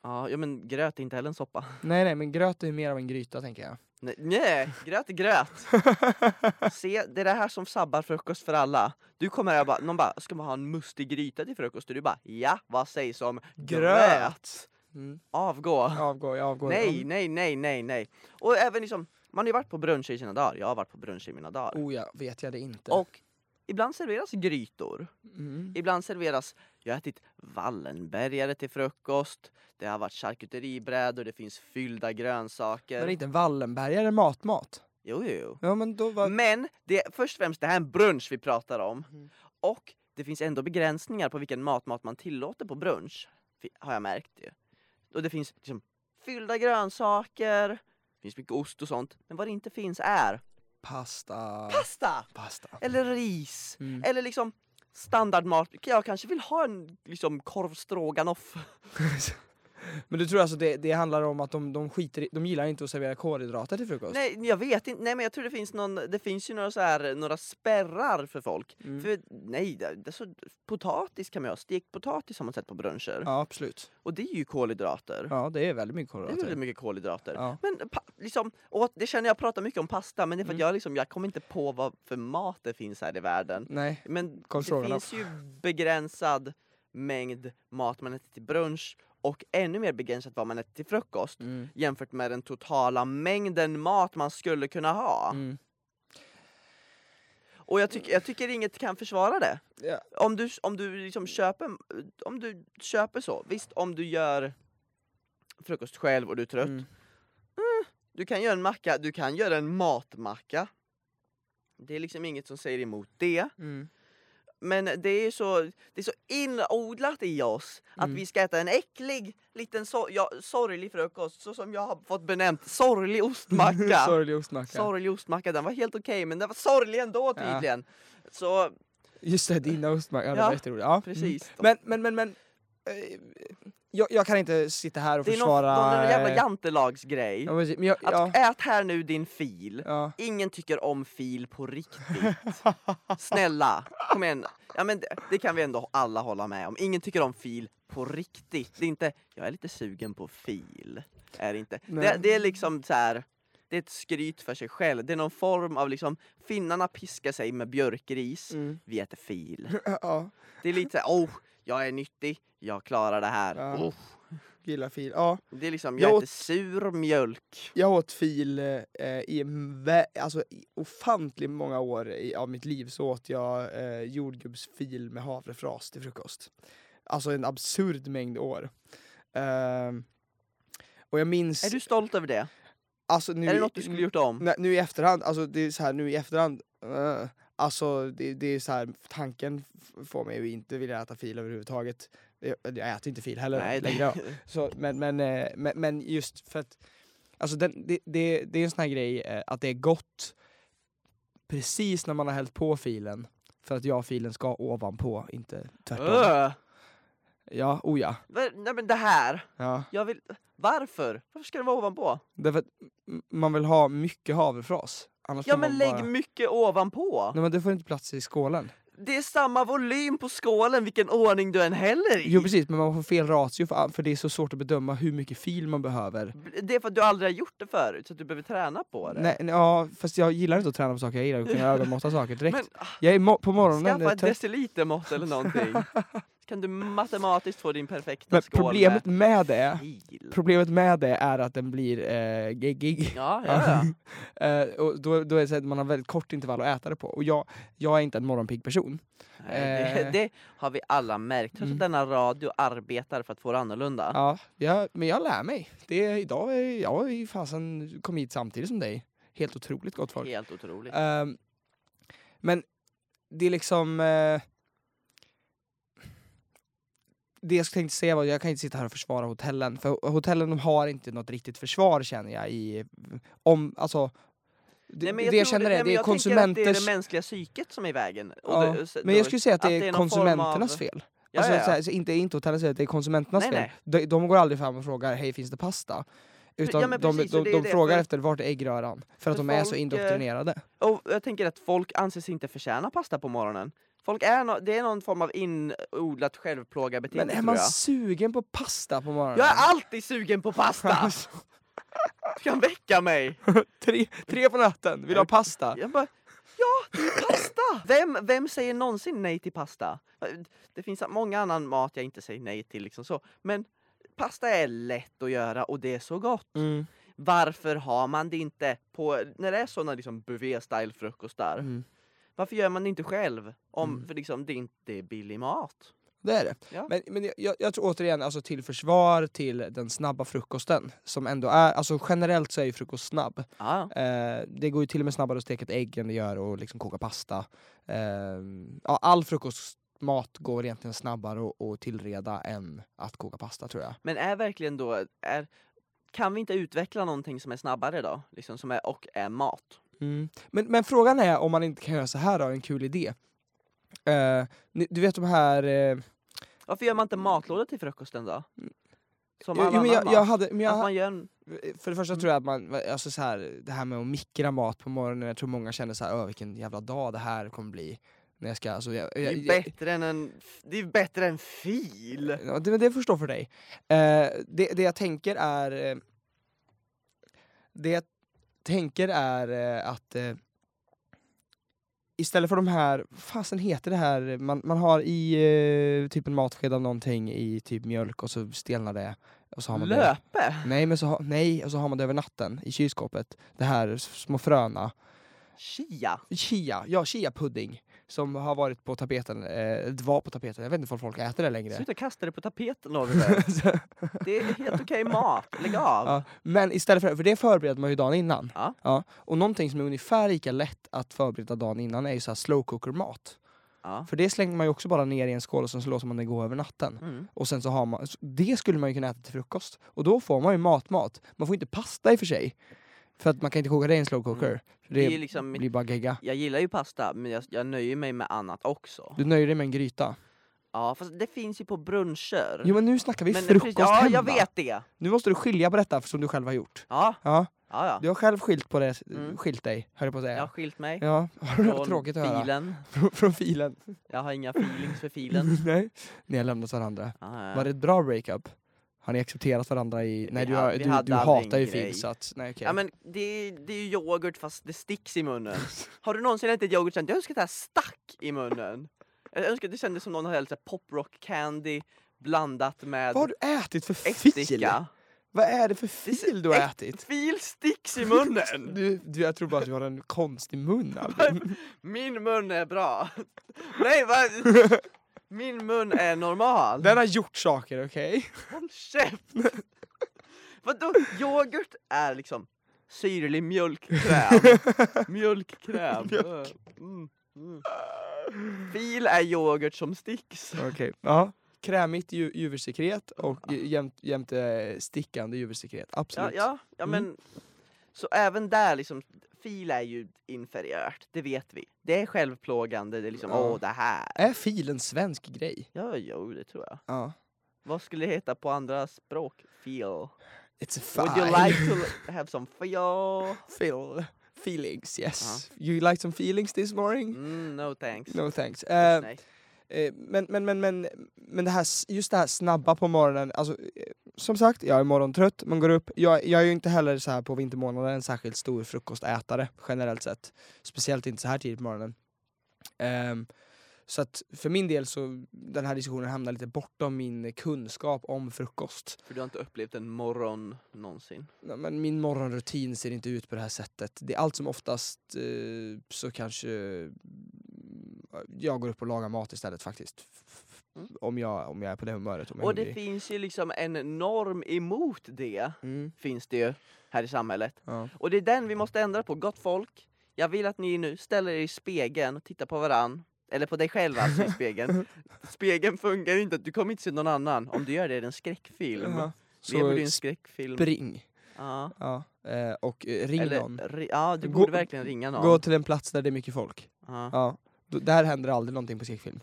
Speaker 1: Ja, ja, men gröt är inte heller en soppa.
Speaker 2: Nej, nej, men gröt är ju mer av en gryta tänker jag.
Speaker 1: Nej, nej gröt är
Speaker 2: (laughs)
Speaker 1: gröt. Se, det är det här som sabbar frukost för alla. Du kommer här och bara, någon bara, ska man ha en mustig gryta till frukost? Och du bara, ja, vad sägs om gröt?
Speaker 2: Mm.
Speaker 1: Avgå.
Speaker 2: Avgår, jag avgår.
Speaker 1: Nej, nej, nej, nej, nej. Och även liksom, man har ju varit på bruncher i sina dagar. Jag har varit på bruncher i mina dagar.
Speaker 2: Oh ja, vet jag det inte.
Speaker 1: Och ibland serveras grytor.
Speaker 2: Mm.
Speaker 1: Ibland serveras, jag har ätit Wallenbergare till frukost. Det har varit charkuteribrädor, det finns fyllda grönsaker.
Speaker 2: Men inte en Wallenbergare matmat?
Speaker 1: Jo, jo, jo.
Speaker 2: Ja men då var...
Speaker 1: Men det, först och främst, det här är en brunch vi pratar om.
Speaker 2: Mm.
Speaker 1: Och det finns ändå begränsningar på vilken matmat man tillåter på brunch. fi- Har jag märkt ju. Och det finns liksom fyllda grönsaker, det finns mycket ost och sånt. Men vad det inte finns är
Speaker 2: Pasta.
Speaker 1: pasta!
Speaker 2: Pasta.
Speaker 1: Eller ris.
Speaker 2: Mm.
Speaker 1: Eller liksom standardmat. Jag kanske vill ha en liksom korv stroganoff.
Speaker 2: (laughs) Men du tror alltså det, det handlar om att de, de skiter i, de gillar inte att servera kolhydrater till frukost?
Speaker 1: Nej, jag vet inte. Nej, men jag tror det finns någon, det finns ju några så här, några spärrar för folk.
Speaker 2: Mm.
Speaker 1: För nej, det, det, är så, potatis kan man ju ha. Stekt potatis har man sett på bruncher.
Speaker 2: Ja absolut.
Speaker 1: Och det är ju kolhydrater.
Speaker 2: Ja det är väldigt mycket
Speaker 1: Det är
Speaker 2: kolhydrater.
Speaker 1: väldigt mycket kolhydrater.
Speaker 2: Ja.
Speaker 1: Men pa, liksom, och det känner jag pratar mycket om pasta, men det är för att
Speaker 2: Mm.
Speaker 1: jag, liksom, jag kommer inte på vad för mat det finns här i världen.
Speaker 2: Nej.
Speaker 1: Men
Speaker 2: Korv
Speaker 1: det
Speaker 2: stroganoff.
Speaker 1: finns ju begränsad mängd mat man äter till brunch och ännu mer begränsat vad man äter till frukost
Speaker 2: Mm.
Speaker 1: jämfört med den totala mängden mat man skulle kunna ha.
Speaker 2: Mm.
Speaker 1: Och jag, tycker jag tycker inget kan försvara det.
Speaker 2: Ja.
Speaker 1: Om du, om du liksom köper, om du köper så, visst om du gör frukost själv och du är trött.
Speaker 2: Mm.
Speaker 1: Du kan göra en macka, du kan göra en matmacka. Det är liksom inget som säger emot det. (laughs)
Speaker 2: Mm.
Speaker 1: Men det är så, det är så inodlat i oss att
Speaker 2: Mm.
Speaker 1: vi ska äta en äcklig liten so- ja, sorglig frukost så som jag har fått benämnt sorglig ostmacka.
Speaker 2: (laughs) Sorglig ostmacka.
Speaker 1: Sorglig ostmacka, den var helt okej men den var sorglig ändå
Speaker 2: Ja.
Speaker 1: tydligen. Så
Speaker 2: Just det, dina ostmackor. Ja, mm. det
Speaker 1: Ja,
Speaker 2: var jätteroligt. Ja.
Speaker 1: precis.
Speaker 2: Mm. Men, men, men, men. eh, jag, jag kan inte sitta här och
Speaker 1: Det är någon,
Speaker 2: försvara...
Speaker 1: någon jävla
Speaker 2: eh,
Speaker 1: jantelagsgrej.
Speaker 2: ja, precis, men jag, ja,
Speaker 1: Att ät här nu din fil.
Speaker 2: ja.
Speaker 1: Ingen tycker om fil på
Speaker 2: (laughs)
Speaker 1: riktigt. Snälla, kom igen. Ja, men det, det kan vi ändå alla hålla med om. Ingen tycker om fil på riktigt. Det är inte, jag är lite sugen på fil. Är det inte. Det,
Speaker 2: Nej.
Speaker 1: det är liksom så här. Det är ett skryt för sig själv. Det är någon form av liksom, finnarna piskar sig med björkris.
Speaker 2: Mm.
Speaker 1: Vi äter fil.
Speaker 2: ja,
Speaker 1: Det är lite såhär, oh, jag är nyttig, jag klarar det här.
Speaker 2: Ja.
Speaker 1: Oh.
Speaker 2: gillar fil. Ja,
Speaker 1: Det är liksom,
Speaker 2: Jag
Speaker 1: jag
Speaker 2: åt-
Speaker 1: äter sur mjölk.
Speaker 2: jag åt fil eh, i en vä- alltså, i ofantligt många år i, av mitt liv så åt jag eh, jordgubbsfil med havrefras till frukost. Alltså en absurd mängd år. Ehm, och jag minns...
Speaker 1: Är du stolt över det?
Speaker 2: alltså, nu,
Speaker 1: är det något du skulle gjort om?
Speaker 2: (laughs) Nej, nu i efterhand, alltså det är så här, nu i efterhand, eh, alltså det, det är så här, tanken f- får mig att inte vilja äta fil överhuvudtaget. Jag, jag äter inte fil heller
Speaker 1: Nej, (laughs)
Speaker 2: längre. Så, men, men, eh, men, men just för att, alltså den, det, det, det är en sån här grej eh, att det är gott precis när man har hällt på filen. För att ja, filen ska ovanpå, inte tvärtom.
Speaker 1: Öh.
Speaker 2: Ja, oh ja.
Speaker 1: Va- Nej men det här,
Speaker 2: ja.
Speaker 1: jag vill... Varför? Varför ska det vara ovanpå?
Speaker 2: Därför att m- man vill ha mycket havrefras. Annars
Speaker 1: Ja
Speaker 2: får
Speaker 1: men
Speaker 2: man
Speaker 1: lägg
Speaker 2: bara...
Speaker 1: mycket ovanpå!
Speaker 2: Nej men det får inte plats i skålen.
Speaker 1: Det är samma volym på skålen vilken ordning du än häller i!
Speaker 2: Jo precis, men man får fel ratio för, för det är så svårt att bedöma hur mycket fil man behöver.
Speaker 1: Det är för att du aldrig har gjort det förut, så att du behöver träna på det.
Speaker 2: Nej, nej, ja, fast jag gillar inte att träna på saker, jag gillar att kunna
Speaker 1: (laughs)
Speaker 2: ögonmåtta saker direkt.
Speaker 1: Men ah,
Speaker 2: jag är mo- på morgonen...
Speaker 1: skaffa
Speaker 2: är
Speaker 1: ett
Speaker 2: trött,
Speaker 1: decilitermått eller
Speaker 2: (laughs)
Speaker 1: någonting. Så kan du matematiskt få din perfekta
Speaker 2: men
Speaker 1: skål
Speaker 2: problemet med det,
Speaker 1: med fil.
Speaker 2: problemet med det är att den blir eh, geggig.
Speaker 1: Ja, ja, ja.
Speaker 2: (laughs) Eh, och då, då är det så att man har väldigt kort intervall att äta det på. Och jag, jag är inte en morgonpigg person.
Speaker 1: Nej, det,
Speaker 2: Eh.
Speaker 1: det har vi alla märkt, trots
Speaker 2: Mm.
Speaker 1: att denna radio arbetar för att få det annorlunda.
Speaker 2: Ja, jag, men jag lär mig. Det, är- idag är jag i fasen kom hit samtidigt som dig. Helt otroligt gott folk.
Speaker 1: Helt otroligt.
Speaker 2: Ehm, men det är liksom... eh, det jag tänkte säga var att jag kan inte sitta här och försvara hotellen. För hotellen de har inte något riktigt försvar känner jag. I, om, alltså, det
Speaker 1: Nej, men
Speaker 2: det jag
Speaker 1: tror
Speaker 2: känner
Speaker 1: nej,
Speaker 2: är,
Speaker 1: men
Speaker 2: det är
Speaker 1: jag tänker att Det är
Speaker 2: konsumenters...
Speaker 1: det mänskliga psyket som är i vägen. Och
Speaker 2: ja,
Speaker 1: det- så-
Speaker 2: men
Speaker 1: då-
Speaker 2: jag skulle säga att
Speaker 1: att
Speaker 2: det
Speaker 1: det
Speaker 2: är
Speaker 1: är någon form
Speaker 2: konsumenternas
Speaker 1: av-
Speaker 2: fel.
Speaker 1: ja,
Speaker 2: alltså,
Speaker 1: ja, ja.
Speaker 2: Så här, så inte, inte hotellets fel, det är konsumenternas
Speaker 1: Nej,
Speaker 2: fel.
Speaker 1: nej.
Speaker 2: De, de går aldrig fram och frågar hej finns det pasta? Utan
Speaker 1: ja, men
Speaker 2: de,
Speaker 1: precis, och
Speaker 2: de,
Speaker 1: det är
Speaker 2: de
Speaker 1: det,
Speaker 2: frågar
Speaker 1: för-
Speaker 2: efter vart är äggröran? För att
Speaker 1: för
Speaker 2: de är så
Speaker 1: folk, eh,
Speaker 2: indoktrinerade.
Speaker 1: Och jag tänker att folk anses inte förtjäna pasta på morgonen. Folk är nå- det är någon form av inodlat
Speaker 2: Men
Speaker 1: självplågarbeteende
Speaker 2: är
Speaker 1: tror
Speaker 2: man
Speaker 1: jag.
Speaker 2: sugen på pasta på morgonen? (laughs)
Speaker 1: Jag är alltid sugen på pasta!
Speaker 2: Alltså,
Speaker 1: Du kan väcka mig!
Speaker 2: tre, tre på natten, vill du ha pasta?
Speaker 1: Jag bara, ja, det är pasta! Vem, vem säger någonsin nej till pasta? Det finns många annan mat jag inte säger nej till, liksom så. men pasta är lätt att göra och det är så gott.
Speaker 2: Mm.
Speaker 1: Varför har man det inte på, när det är såna liksom buffé-style frukostar?
Speaker 2: Mm.
Speaker 1: Varför gör man det inte själv? Om,
Speaker 2: Mm.
Speaker 1: För liksom, det är inte billig mat.
Speaker 2: Det är det.
Speaker 1: Ja.
Speaker 2: Men, men jag- jag, jag tror återigen, alltså till försvar till den snabba frukosten, som ändå är, alltså generellt så är ju frukost snabb.
Speaker 1: Ja.
Speaker 2: Eh, det går ju till och med snabbare att steka ett ägg än det gör och liksom koka pasta. Eh, ja, all frukostmat går egentligen snabbare att- att tillreda än att koka pasta tror jag.
Speaker 1: Men är verkligen då, är, kan vi inte utveckla någonting som är snabbare då? Liksom som är, och är mat?
Speaker 2: Mm. Men, men frågan är om man inte kan göra så här då, en kul idé. Eh, ni, du vet de här... Eh,
Speaker 1: Varför gör man inte matlåda till frukosten då? Som
Speaker 2: Mm.
Speaker 1: alla
Speaker 2: jo, jo, men
Speaker 1: annan
Speaker 2: jag,
Speaker 1: mat.
Speaker 2: jag hade, men jag, eh,
Speaker 1: Att man Mm. gör en,
Speaker 2: för det första tror jag att man, alltså så här, det här med att mikra mat på morgonen, jag tror många känner så här, "Åh, vilken jävla dag det här kommer bli. När jag ska, alltså, jag,
Speaker 1: det
Speaker 2: jag,
Speaker 1: är
Speaker 2: jag,
Speaker 1: bättre än en, det är bättre än fil!
Speaker 2: Ja, det, men det förstår för dig. Eh, det, det jag tänker är... eh, Det jag tänker är eh, att... Eh, istället för de här... Vad fasen heter det här? Man, man har i eh, typ en matsked av någonting i typ mjölk och så stelnar det. Och så har man Det.
Speaker 1: Löpe!
Speaker 2: Nej, men så ha, nej, och så har man det över natten i kylskåpet. Det här s- små fröna.
Speaker 1: Chia!
Speaker 2: Chia, ja chia-pudding. Som har varit på tapeten, eh, det var på tapeten, jag vet inte om folk äter det längre.
Speaker 1: Sluta kasta det på tapeten Oliver! Det är helt okej mat, lägg
Speaker 2: (laughs)
Speaker 1: av!
Speaker 2: Ja, men istället för, för det förbereder man ju dagen innan.
Speaker 1: Ja.
Speaker 2: och någonting som är ungefär lika lätt att förbereda dagen innan är ju så här slow cooker mat.
Speaker 1: Ja.
Speaker 2: För det slänger man ju också bara ner i en skål och sen så låter man det gå över natten.
Speaker 1: Mm.
Speaker 2: Och sen så har man, så det skulle man ju kunna äta till frukost. Och då får man ju matmat. Man får inte pasta i och för sig. För att man kan inte koka det i en slow cooker. För
Speaker 1: Det
Speaker 2: det
Speaker 1: är liksom
Speaker 2: blir bara gegga.
Speaker 1: jag gillar ju pasta, men jag, jag nöjer mig med annat också. Mm.
Speaker 2: Du nöjer dig med en gryta.
Speaker 1: Ja, fast det finns ju på bruncher.
Speaker 2: Jo men nu snackar vi
Speaker 1: Men precis-
Speaker 2: frukost
Speaker 1: Ja,
Speaker 2: hemma.
Speaker 1: jag vet det.
Speaker 2: Nu måste du skilja på detta som du själv har gjort.
Speaker 1: Ja,
Speaker 2: Ja,
Speaker 1: ja, ja.
Speaker 2: du har själv skilt, på det,
Speaker 1: Mm.
Speaker 2: skilt dig, höll jag på att säga.
Speaker 1: Jag har skilt mig
Speaker 2: Ja, har du
Speaker 1: från
Speaker 2: tråkigt att höra?
Speaker 1: filen.
Speaker 2: Från,
Speaker 1: (laughs)
Speaker 2: från filen.
Speaker 1: Jag har inga feelings för
Speaker 2: (laughs)
Speaker 1: filen.
Speaker 2: Nej, ni har lämnat varandra.
Speaker 1: Ja, ja.
Speaker 2: Var det ett bra breakup? Har ni accepterat varandra i... Nej,
Speaker 1: Vi
Speaker 2: du,
Speaker 1: ha-
Speaker 2: har-
Speaker 1: vi
Speaker 2: du,
Speaker 1: hade
Speaker 2: du
Speaker 1: aldrig
Speaker 2: hatar ju
Speaker 1: en grej.
Speaker 2: film så att... Nej, okej.
Speaker 1: Ja men det, det är ju yoghurt fast det sticks i
Speaker 2: (laughs)
Speaker 1: munnen. Har du någonsin ätit yoghurt och känt jag önskar att det här stack i munnen? Jag önskar att det kändes som någon hade hällt så här poprock candy blandat med
Speaker 2: Vad har du ätit för fil?
Speaker 1: ättika.
Speaker 2: Vad är det för
Speaker 1: Det är så-
Speaker 2: fil du har
Speaker 1: äkt-
Speaker 2: ätit?
Speaker 1: Fil sticks i munnen!
Speaker 2: Du, du, jag tror bara att du har en
Speaker 1: (laughs)
Speaker 2: konstig mun Albin.
Speaker 1: Min mun är
Speaker 2: (laughs)
Speaker 1: bra. Nej vad? Min mun är normal.
Speaker 2: Den har gjort saker, okej?
Speaker 1: Håll käft! (laughs) Vadå? Yoghurt är liksom syrlig mjölkkräm.
Speaker 2: (laughs)
Speaker 1: Mjölkkräm.
Speaker 2: Mjölk.
Speaker 1: Mm. Mm. Fil är yoghurt som sticks.
Speaker 2: Okej, ja. Krämigt ju, juversekret och jämt, jämt eh, stickande juversekret,
Speaker 1: Ja,
Speaker 2: absolut.
Speaker 1: ja, ja
Speaker 2: Mm.
Speaker 1: men så även där liksom, fil är ju inferiört, det vet vi. Det är självplågande, det är liksom
Speaker 2: Ja.
Speaker 1: åh det här.
Speaker 2: Är fil en svensk grej?
Speaker 1: Ja, jo det tror jag.
Speaker 2: Ja.
Speaker 1: Vad skulle det heta på andra språk? Feel.
Speaker 2: It's a
Speaker 1: Would you like to have some
Speaker 2: (laughs)
Speaker 1: feel?
Speaker 2: Feel. Feelings, yes. You like some feelings this morning?
Speaker 1: Mm, no thanks.
Speaker 2: No thanks. Eh,
Speaker 1: Nej.
Speaker 2: eh, men, men, men, men, men det här, s- just det här snabba på morgonen, alltså, eh, som sagt, jag är morgontrött, man går upp. Jag, jag är ju inte heller så här på vintermånaden en särskilt stor frukostätare generellt sett. Speciellt inte så här tidigt på morgonen. Ehm, så att för min del så, den här diskussionen hamnar lite bortom min kunskap om frukost.
Speaker 1: För du har inte upplevt en morgon någonsin.
Speaker 2: Nej, men min morgonrutin ser inte ut på det här sättet. Det är allt som oftast eh, så kanske eh, jag går upp och lagar mat istället faktiskt. F- f-
Speaker 1: Mm.
Speaker 2: Om, jag, om jag är på det humöret. Om jag är
Speaker 1: Och det
Speaker 2: hungrig.
Speaker 1: finns ju liksom en norm emot det,
Speaker 2: mm.
Speaker 1: finns det ju här i samhället.
Speaker 2: ja.
Speaker 1: Och det är den vi måste ändra på, gott folk. Jag vill att ni nu ställer er i spegeln, tittar på varann. Eller på dig själv alltså i
Speaker 2: (laughs)
Speaker 1: spegeln. Spegeln fungerar inte, du kommer inte se någon annan. Om du gör det är det en skräckfilm.
Speaker 2: Jaha.
Speaker 1: Lever du i
Speaker 2: Så
Speaker 1: en skräckfilm?
Speaker 2: spring.
Speaker 1: Ja.
Speaker 2: Ja. Eh, och eh, ring någon.
Speaker 1: Eller, ri- ja, du
Speaker 2: Gå-
Speaker 1: borde verkligen ringa någon.
Speaker 2: Gå till en plats där det är mycket folk.
Speaker 1: ja.
Speaker 2: Ja. Då- Där händer aldrig någonting på skräckfilm.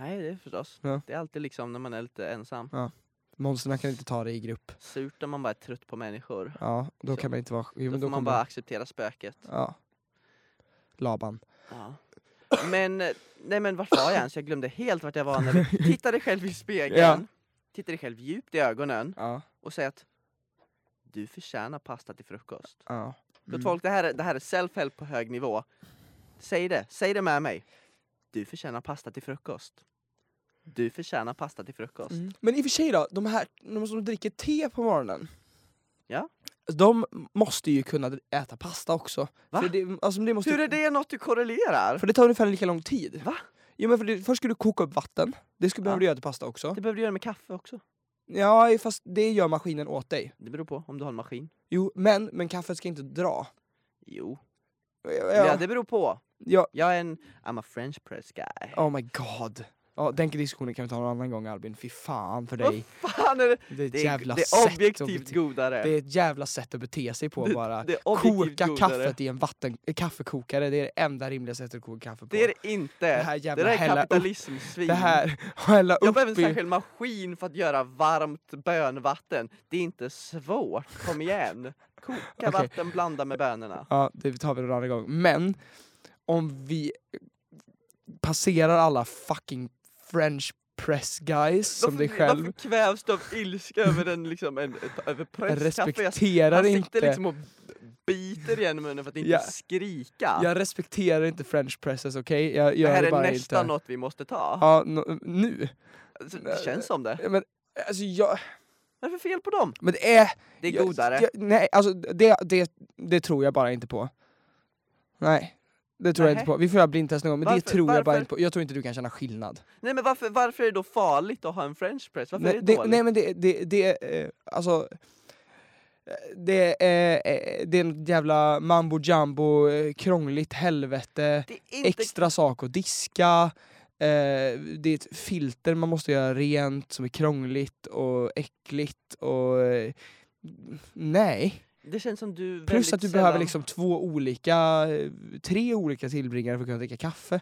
Speaker 1: Nej, det är förstås.
Speaker 2: Ja.
Speaker 1: Det är alltid liksom när man är lite ensam.
Speaker 2: Monsterna kan inte ta det i grupp.
Speaker 1: Surt om man bara är trött på människor.
Speaker 2: Ja, då
Speaker 1: Så.
Speaker 2: kan man inte vara... Jo,
Speaker 1: Då
Speaker 2: men då
Speaker 1: får man
Speaker 2: kommer-
Speaker 1: bara acceptera spöket.
Speaker 2: Ja. Laban.
Speaker 1: Ja. Men, eh, nej men vart var jag ens? Jag glömde helt vart jag var när vi
Speaker 2: (laughs)
Speaker 1: titta dig själv i spegeln,
Speaker 2: Ja.
Speaker 1: titta dig själv djupt i ögonen
Speaker 2: Ja.
Speaker 1: och säg att du förtjänar pasta till frukost.
Speaker 2: ja. Mm.
Speaker 1: Gott folk, det här, är- det här är self-help på hög nivå. Säg det, säg det med mig. Du förtjänar pasta till frukost. Du förtjänar pasta till frukost.
Speaker 2: Men i och för sig då, de här de som dricker te på morgonen.
Speaker 1: Ja.
Speaker 2: De måste ju kunna äta pasta också.
Speaker 1: Va?
Speaker 2: För det, alltså, det måste,
Speaker 1: Hur är det något du korrelerar?
Speaker 2: För det tar ungefär lika lång tid.
Speaker 1: Va?
Speaker 2: Jo, men för det, först ska du koka upp vatten, det ska, behöver
Speaker 1: Ja.
Speaker 2: du göra till pasta också.
Speaker 1: Det behöver du göra med kaffe också.
Speaker 2: Ja, fast det gör maskinen åt dig.
Speaker 1: Det beror på om du har en maskin.
Speaker 2: Jo, men, men kaffet ska inte dra.
Speaker 1: Jo.
Speaker 2: Ja,
Speaker 1: Ja, det beror på.
Speaker 2: ja,
Speaker 1: Jag är en, I'm a french press guy.
Speaker 2: oh my god. Ja, den diskussionen kan vi ta någon annan gång Albin, fy fan för
Speaker 1: Vad
Speaker 2: dig.
Speaker 1: fan är det?
Speaker 2: Det är ett
Speaker 1: Det är,
Speaker 2: jävla
Speaker 1: det
Speaker 2: sätt
Speaker 1: är
Speaker 2: att
Speaker 1: objektivt
Speaker 2: bete-
Speaker 1: godare.
Speaker 2: Det är ett jävla sätt att bete sig på bara.
Speaker 1: det är objektivt
Speaker 2: Koka
Speaker 1: godare.
Speaker 2: kaffet i en vatten, eh, kaffekokare, det är det enda rimliga sättet att koka kaffe på.
Speaker 1: Det är det inte. Det
Speaker 2: Det
Speaker 1: här,
Speaker 2: här
Speaker 1: det
Speaker 2: jävla
Speaker 1: där är
Speaker 2: hälla upp-
Speaker 1: kapitalismsvin.
Speaker 2: det (laughs) här, hälla
Speaker 1: Jag
Speaker 2: upp
Speaker 1: behöver en
Speaker 2: i...
Speaker 1: särskild maskin för att göra varmt bönvatten. Det är inte svårt, kom igen. Koka
Speaker 2: Okej.
Speaker 1: vatten, blanda med bönorna.
Speaker 2: Ja, det tar vi någon annan gång. Men, om vi eh, passerar alla fucking french press guys som dig själv,
Speaker 1: varför kvävs du av ilska över, en, liksom, en, ett- över presskaffe? Jag-
Speaker 2: respekterar
Speaker 1: Han
Speaker 2: inte...
Speaker 1: sitter liksom och biter igen i munnen för att inte
Speaker 2: Ja.
Speaker 1: skrika.
Speaker 2: Jag respekterar inte french presses, okej? Jag
Speaker 1: det
Speaker 2: gör
Speaker 1: här
Speaker 2: det
Speaker 1: är
Speaker 2: bara
Speaker 1: nästan
Speaker 2: inte.
Speaker 1: något vi måste ta.
Speaker 2: Ja, nå- nu.
Speaker 1: Alltså, Det känns som det.
Speaker 2: Ja, Men, alltså jag...
Speaker 1: Vad är det för fel på dem?
Speaker 2: Men det är...
Speaker 1: Det är
Speaker 2: Jag-
Speaker 1: godare.
Speaker 2: jag- nej, alltså det, det, det tror jag bara inte på. Nej, det tror jag
Speaker 1: Nähä.
Speaker 2: inte på. Vi får göra blindtest någon gång, men det
Speaker 1: Varför-
Speaker 2: tror jag bara
Speaker 1: varför?
Speaker 2: inte på. Jag tror inte du kan känna skillnad.
Speaker 1: Nej men varför, varför är det då farligt att ha en french press? Varför
Speaker 2: nej,
Speaker 1: är det
Speaker 2: det,
Speaker 1: dåligt?
Speaker 2: nej men det, det, det eh, alltså... eh, Det är, eh, det är en jävla mambo jumbo, eh, krångligt helvete,
Speaker 1: det är inte...
Speaker 2: extra sak att diska, eh, det är ett filter man måste göra rent som är krångligt och äckligt och... eh, Nej.
Speaker 1: Det känns som du
Speaker 2: Plus
Speaker 1: väldigt
Speaker 2: att du
Speaker 1: sällan...
Speaker 2: behöver liksom två olika, eh, tre olika tillbringare för att kunna dricka kaffe.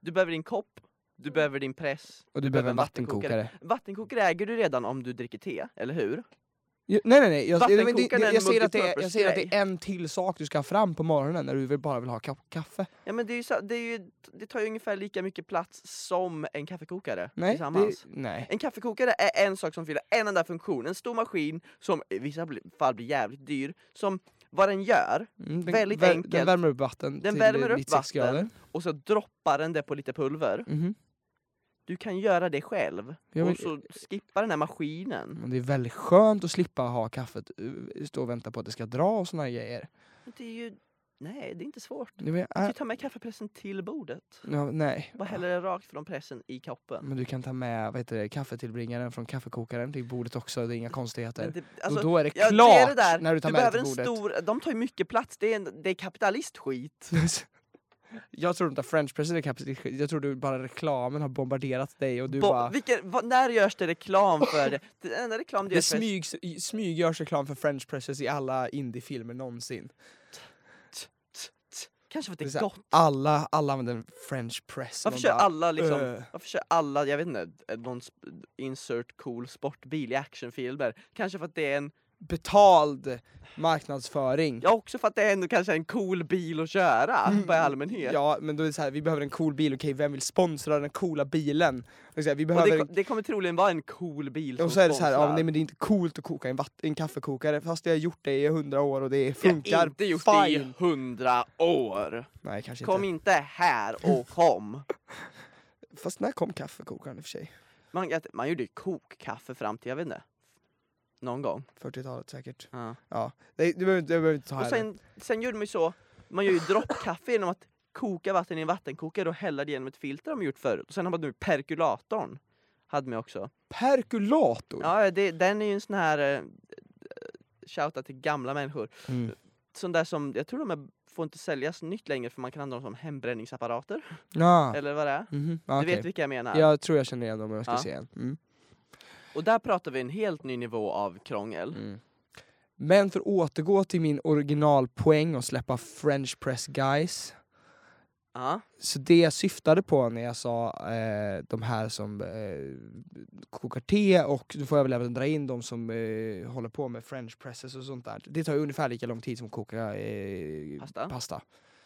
Speaker 1: Du behöver din kopp,
Speaker 2: Mm.
Speaker 1: du behöver din press.
Speaker 2: Och du behöver en vattenkokare.
Speaker 1: Vattenkokare äger du redan om du dricker te, eller hur?
Speaker 2: Ju- Nej nej nej, jag, jag, jag,
Speaker 1: Vattenkokaren är
Speaker 2: jag,
Speaker 1: en
Speaker 2: jag, säger, att det är, jag
Speaker 1: multipurpose
Speaker 2: säger att det är en till sak du ska ha fram på morgonen när du vill- bara vill ha ka- kaffe.
Speaker 1: Ja men det, är ju, så- det, är ju, det tar ju ungefär lika mycket plats som en kaffekokare
Speaker 2: Nej, det,
Speaker 1: tillsammans.
Speaker 2: nej.
Speaker 1: En kaffekokare är en sak som fyller en enda funktion, en stor maskin som i vissa bli- fall blir jävligt dyr, som vad den gör,
Speaker 2: Mm, den,
Speaker 1: Väldigt
Speaker 2: vär-
Speaker 1: enkelt.
Speaker 2: Den värmer upp vatten
Speaker 1: Den
Speaker 2: till
Speaker 1: värmer upp
Speaker 2: 96
Speaker 1: vatten.
Speaker 2: grader.
Speaker 1: och så droppar den det på lite pulver.
Speaker 2: Mhm.
Speaker 1: Du kan göra det själv,
Speaker 2: Ja, men-
Speaker 1: och så skippa den här maskinen.
Speaker 2: Men det är väldigt skönt att slippa ha kaffet, eh, stå och vänta på att det ska dra och såna grejer.
Speaker 1: Det är ju... Nej, det är inte svårt.
Speaker 2: Det var,
Speaker 1: Du
Speaker 2: äh,
Speaker 1: kan ta med kaffepressen till bordet.
Speaker 2: ja, nej.
Speaker 1: Bara häller det rakt från pressen i koppen.
Speaker 2: Men du kan ta med vad heter det, kaffetillbringaren från kaffekokaren till bordet också, det är inga konstigheter.
Speaker 1: Men det, alltså,
Speaker 2: och då är det
Speaker 1: ja,
Speaker 2: klart
Speaker 1: det är det där.
Speaker 2: när du tar
Speaker 1: du
Speaker 2: med det
Speaker 1: behöver
Speaker 2: till
Speaker 1: en
Speaker 2: bordet.
Speaker 1: stor... De tar ju mycket plats, det är, en, det är kapitalistskit.
Speaker 2: (laughs) jag tror inte att French press är kapitalist, jag tror du bara reklamen har bombarderat dig och du
Speaker 1: Bo-
Speaker 2: bara...
Speaker 1: vilken, vad, när görs det reklam för det? Den enda reklam det
Speaker 2: Det
Speaker 1: görs för
Speaker 2: smygs, i- smyggörs reklam för French presses i alla indiefilmer någonsin.
Speaker 1: Kanske för att
Speaker 2: Det är
Speaker 1: det
Speaker 2: så
Speaker 1: är
Speaker 2: här,
Speaker 1: gott.
Speaker 2: Alla, alla använder en French press.
Speaker 1: Varför
Speaker 2: Man
Speaker 1: kör
Speaker 2: bara,
Speaker 1: alla liksom...
Speaker 2: "Öh."
Speaker 1: Varför kör alla, jag vet inte, eh, någon sp- insert cool sportbil i actionfilmer? Kanske för att det är en...
Speaker 2: betald marknadsföring.
Speaker 1: Ja, också för att det är en, kanske en cool bil att köra
Speaker 2: Mm,
Speaker 1: på i allmänhet.
Speaker 2: Ja, men då är det så här, vi behöver en cool bil, okej vem vill sponsra den coola bilen? Det är så här, vi
Speaker 1: Och
Speaker 2: behöver
Speaker 1: det, ko- det kommer troligen vara en cool bil
Speaker 2: en,
Speaker 1: som
Speaker 2: och så är det så här, ja,
Speaker 1: sponsrar.
Speaker 2: nej men det är inte coolt att koka i en, vatt- en kaffekokare fast jag har gjort det i hundra år och det funkar.
Speaker 1: Jag har inte gjort det i
Speaker 2: Fine.
Speaker 1: hundra år!
Speaker 2: Nej kanske
Speaker 1: Kom
Speaker 2: inte.
Speaker 1: inte här och kom!
Speaker 2: Fast när kom kaffekokaren i och för sig?
Speaker 1: Man, jag- man gjorde ju kokkaffe fram till, jag vet inte, någon gång.
Speaker 2: 40-talet säkert.
Speaker 1: Ja.
Speaker 2: Ja, nej, du behöver inte, jag behöver inte ta
Speaker 1: Och
Speaker 2: här. det.
Speaker 1: sen, sen gjorde man ju så, man gör ju droppkaffe genom att koka vatten i en vattenkokare och hälla det genom ett filter har man gjort förut. Och sen har man nu perkulatorn. Hade man också.
Speaker 2: Perkulator!
Speaker 1: Ja, det, den är ju en sån här... eh, Shoutout till gamla människor.
Speaker 2: Mm.
Speaker 1: Sån där som, jag tror de är, får inte säljas nytt längre för man kan använda dem som hembränningsapparater.
Speaker 2: Ah.
Speaker 1: Eller vad det är.
Speaker 2: Mhm,
Speaker 1: Du
Speaker 2: okej.
Speaker 1: vet vilka jag menar.
Speaker 2: Jag tror jag känner igen dem om jag ska
Speaker 1: Ja.
Speaker 2: se en. Mm.
Speaker 1: Och där pratar vi en helt ny nivå av krångel.
Speaker 2: Mm. Men för att återgå till min originalpoäng och släppa French press guys.
Speaker 1: Ja.
Speaker 2: Så det jag syftade på när jag sa eh, de här som eh, kokar te och då får jag väl även dra in de som eh, håller på med french presses och sånt där. Det tar ju ungefär lika lång tid som att koka eh,
Speaker 1: Pasta.
Speaker 2: pasta.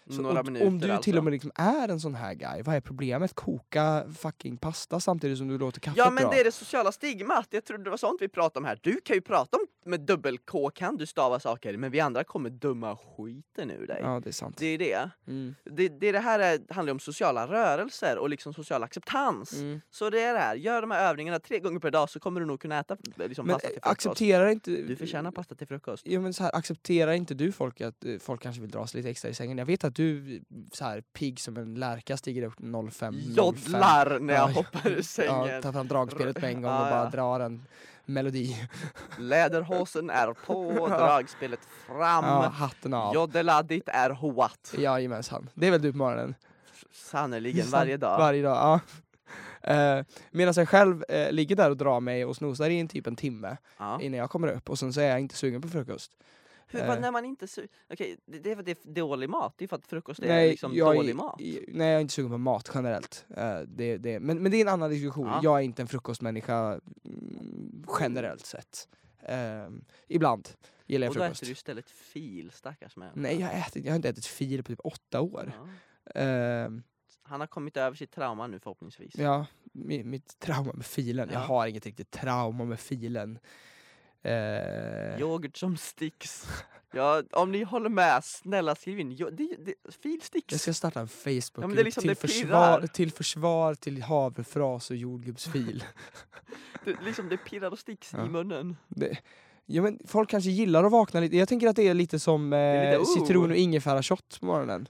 Speaker 2: Så
Speaker 1: Några
Speaker 2: om,
Speaker 1: minuter
Speaker 2: om du
Speaker 1: alltså.
Speaker 2: till och med liksom är en sån här guy, vad är problemet? Koka fucking pasta samtidigt som du låter kaffet
Speaker 1: Ja men
Speaker 2: dra.
Speaker 1: det är det sociala stigmat, jag trodde det var sånt vi pratade om här. Du kan ju prata om med dubbel-K, kan du stava saker, men vi andra kommer döma skiten ur dig.
Speaker 2: Ja, det är sant.
Speaker 1: Det är det.
Speaker 2: Mm.
Speaker 1: Det, det, det här är, handlar ju om sociala rörelser och liksom social acceptans.
Speaker 2: Mm.
Speaker 1: Så det är det här, gör de här övningarna tre gånger per dag så kommer du nog kunna äta liksom,
Speaker 2: Men eh,
Speaker 1: pasta till frukost.
Speaker 2: accepterar inte...
Speaker 1: Du förtjänar pasta till frukost.
Speaker 2: Ja, men så här, accepterar inte du folk att eh, folk kanske vill dra sig lite extra i sängen? Jag vet att du, så här, pigg som en lärka, stiger upp 05. 05.
Speaker 1: Joddlar när jag
Speaker 2: Ja,
Speaker 1: hoppar ur
Speaker 2: Ja,
Speaker 1: sängen.
Speaker 2: tar fram dragspelet med en gång och
Speaker 1: Ja,
Speaker 2: bara
Speaker 1: ja.
Speaker 2: drar en melodi.
Speaker 1: Läderhosen är
Speaker 2: (laughs)
Speaker 1: på, dragspelet fram.
Speaker 2: Ja, hatten av. Ja.
Speaker 1: Joddeladdigt är hoat.
Speaker 2: Jajamensan. Det är väl du på morgonen?
Speaker 1: Sannerligen varje dag.
Speaker 2: Varje dag, ja. (laughs) Eh, Medan jag själv eh, ligger där och drar mig och snosar i en typ en timme
Speaker 1: Ja.
Speaker 2: innan jag kommer upp och sen så är jag inte sugen på frukost.
Speaker 1: Hur, vad,
Speaker 2: Eh.
Speaker 1: när man inte su- Okej, det, det är för att det är dålig mat. Det är för att frukost är liksom
Speaker 2: jag är-
Speaker 1: dålig mat.
Speaker 2: i- Nej, jag är inte sugen på mat generellt. Eh, det, det, men, men det är en annan diskussion.
Speaker 1: Ja.
Speaker 2: Jag är inte en frukostmänniska mm, generellt sett. Eh, ibland gillar jag
Speaker 1: Och då
Speaker 2: frukost.
Speaker 1: äter du istället fil, stackars män.
Speaker 2: Nej, jag, äter, jag har inte ätit fil på typ åtta år.
Speaker 1: Ja.
Speaker 2: Eh,
Speaker 1: Han har kommit över sitt trauma nu förhoppningsvis.
Speaker 2: ja, mi- mitt trauma med filen. Jag
Speaker 1: Ja.
Speaker 2: har inget riktigt trauma med filen. Eh,
Speaker 1: Yoghurt som sticks. Ja, om ni håller med, snälla skriv in. Jo, det, det, fil sticks.
Speaker 2: jag ska starta en
Speaker 1: Ja, men
Speaker 2: Facebookgrupp
Speaker 1: det är liksom
Speaker 2: till,
Speaker 1: det
Speaker 2: försvar,
Speaker 1: pirrar.
Speaker 2: till försvar till havrefras och jordgubbsfil. (laughs)
Speaker 1: Det, liksom det pirrar och sticks
Speaker 2: Ja.
Speaker 1: i munnen.
Speaker 2: Det, ja, men folk kanske gillar att vakna lite. Jag tänker att det är lite som eh,
Speaker 1: är lite, "Oh."
Speaker 2: citron och ingefärashot på morgonen.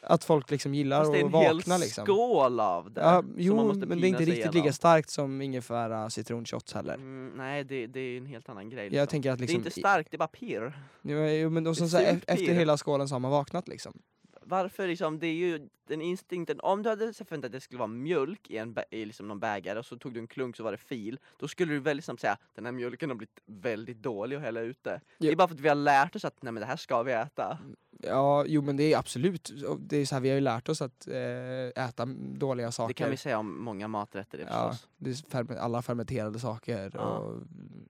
Speaker 2: Att folk liksom gillar
Speaker 1: Fast det är en
Speaker 2: att
Speaker 1: hel
Speaker 2: vakna liksom.
Speaker 1: skål av det.
Speaker 2: Ja,
Speaker 1: som man
Speaker 2: jo,
Speaker 1: måste
Speaker 2: men det är
Speaker 1: pina
Speaker 2: inte
Speaker 1: sig
Speaker 2: riktigt
Speaker 1: igenom.
Speaker 2: lika starkt som ingefära citronshot heller.
Speaker 1: Mm, nej, det, det är en helt annan grej. Liksom.
Speaker 2: Jag tänker att liksom...
Speaker 1: det är inte starkt, det är bara pirr.
Speaker 2: Jo, jo, men och
Speaker 1: Det är
Speaker 2: sen så här,
Speaker 1: surt
Speaker 2: e- efter
Speaker 1: pirr.
Speaker 2: hela skålen så har man vaknat liksom.
Speaker 1: Varför liksom, det är ju den instinkten, om du hade förväntat dig att det skulle vara mjölk i, en, bä- i liksom någon bägare och så tog du en klunk så var det fil, då skulle du väldigt snabbt säga den här mjölken har blivit väldigt dålig att hälla ut det. Det
Speaker 2: Ja. Mm.
Speaker 1: är bara för att vi har lärt oss att nej men det här ska vi äta.
Speaker 2: Ja, jo men det är absolut, det är så här, vi har ju lärt oss att eh, äta dåliga saker.
Speaker 1: Det kan vi säga om många maträtter det
Speaker 2: Ja.
Speaker 1: förstås.
Speaker 2: Det är ferme- alla fermenterade saker
Speaker 1: Ja.
Speaker 2: och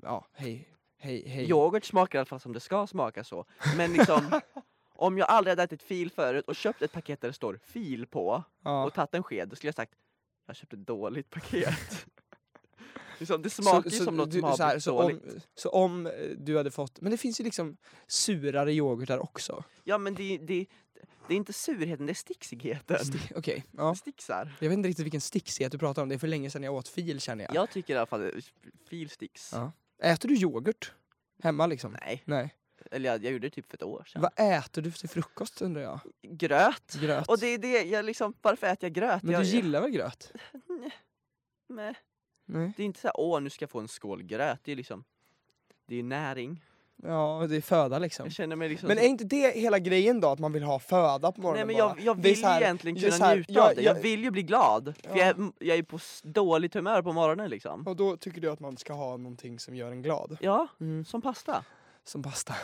Speaker 2: ja, hej, hej, hej.
Speaker 1: Yoghurt smakar i alla fall som det ska smaka så. Men
Speaker 2: (laughs)
Speaker 1: liksom, om jag aldrig hade ätit fil förut och köpt ett paket där det står fil på
Speaker 2: Ja.
Speaker 1: och tagit en sked, då skulle jag sagt jag köpte ett dåligt
Speaker 2: (laughs)
Speaker 1: paket. liksom, det smakar ju som något
Speaker 2: du-
Speaker 1: som har
Speaker 2: så här,
Speaker 1: blivit
Speaker 2: så
Speaker 1: dåligt.
Speaker 2: om, så om eh, du hade fått, men det finns ju liksom surare yoghurtar också.
Speaker 1: Ja men det, det, det är inte surheten, det är sticksigheten. (laughs)
Speaker 2: Sti- Okej, ja.
Speaker 1: Det sticksar.
Speaker 2: Jag vet inte riktigt vilken sticksighet du pratar om, det är för länge sedan jag åt fil känner jag.
Speaker 1: Jag tycker i alla fall eh, fil sticks.
Speaker 2: Ja. Äter du yoghurt? Hemma liksom?
Speaker 1: Nej,
Speaker 2: Nej.
Speaker 1: eller jag, jag gjorde det typ för ett år sedan.
Speaker 2: Vad äter du till frukost undrar jag?
Speaker 1: Gröt.
Speaker 2: Gröt?
Speaker 1: Och det är det, jag liksom, varför äter jag gröt?
Speaker 2: men
Speaker 1: jag,
Speaker 2: du gillar väl gröt?
Speaker 1: jag, nej.
Speaker 2: Nej.
Speaker 1: Det är inte så här, åh nu ska jag få en skål gröt. Det är liksom, det är näring.
Speaker 2: Ja, det är föda liksom.
Speaker 1: Jag känner mig liksom...
Speaker 2: Men
Speaker 1: så-
Speaker 2: är inte det hela grejen då, att man vill ha föda på
Speaker 1: nej
Speaker 2: morgonen
Speaker 1: men
Speaker 2: bara?
Speaker 1: jag, jag
Speaker 2: Det är
Speaker 1: vill
Speaker 2: så här-
Speaker 1: ju egentligen
Speaker 2: det är
Speaker 1: kunna
Speaker 2: så här,
Speaker 1: njuta
Speaker 2: jag-
Speaker 1: av det. Jag
Speaker 2: jag-
Speaker 1: vill ju bli glad. För jag, är- jag är på s- dåligt humör på morgonen liksom.
Speaker 2: Och då tycker du att man ska ha någonting som gör en glad?
Speaker 1: Ja,
Speaker 2: Mm.
Speaker 1: som pasta.
Speaker 2: Som pasta.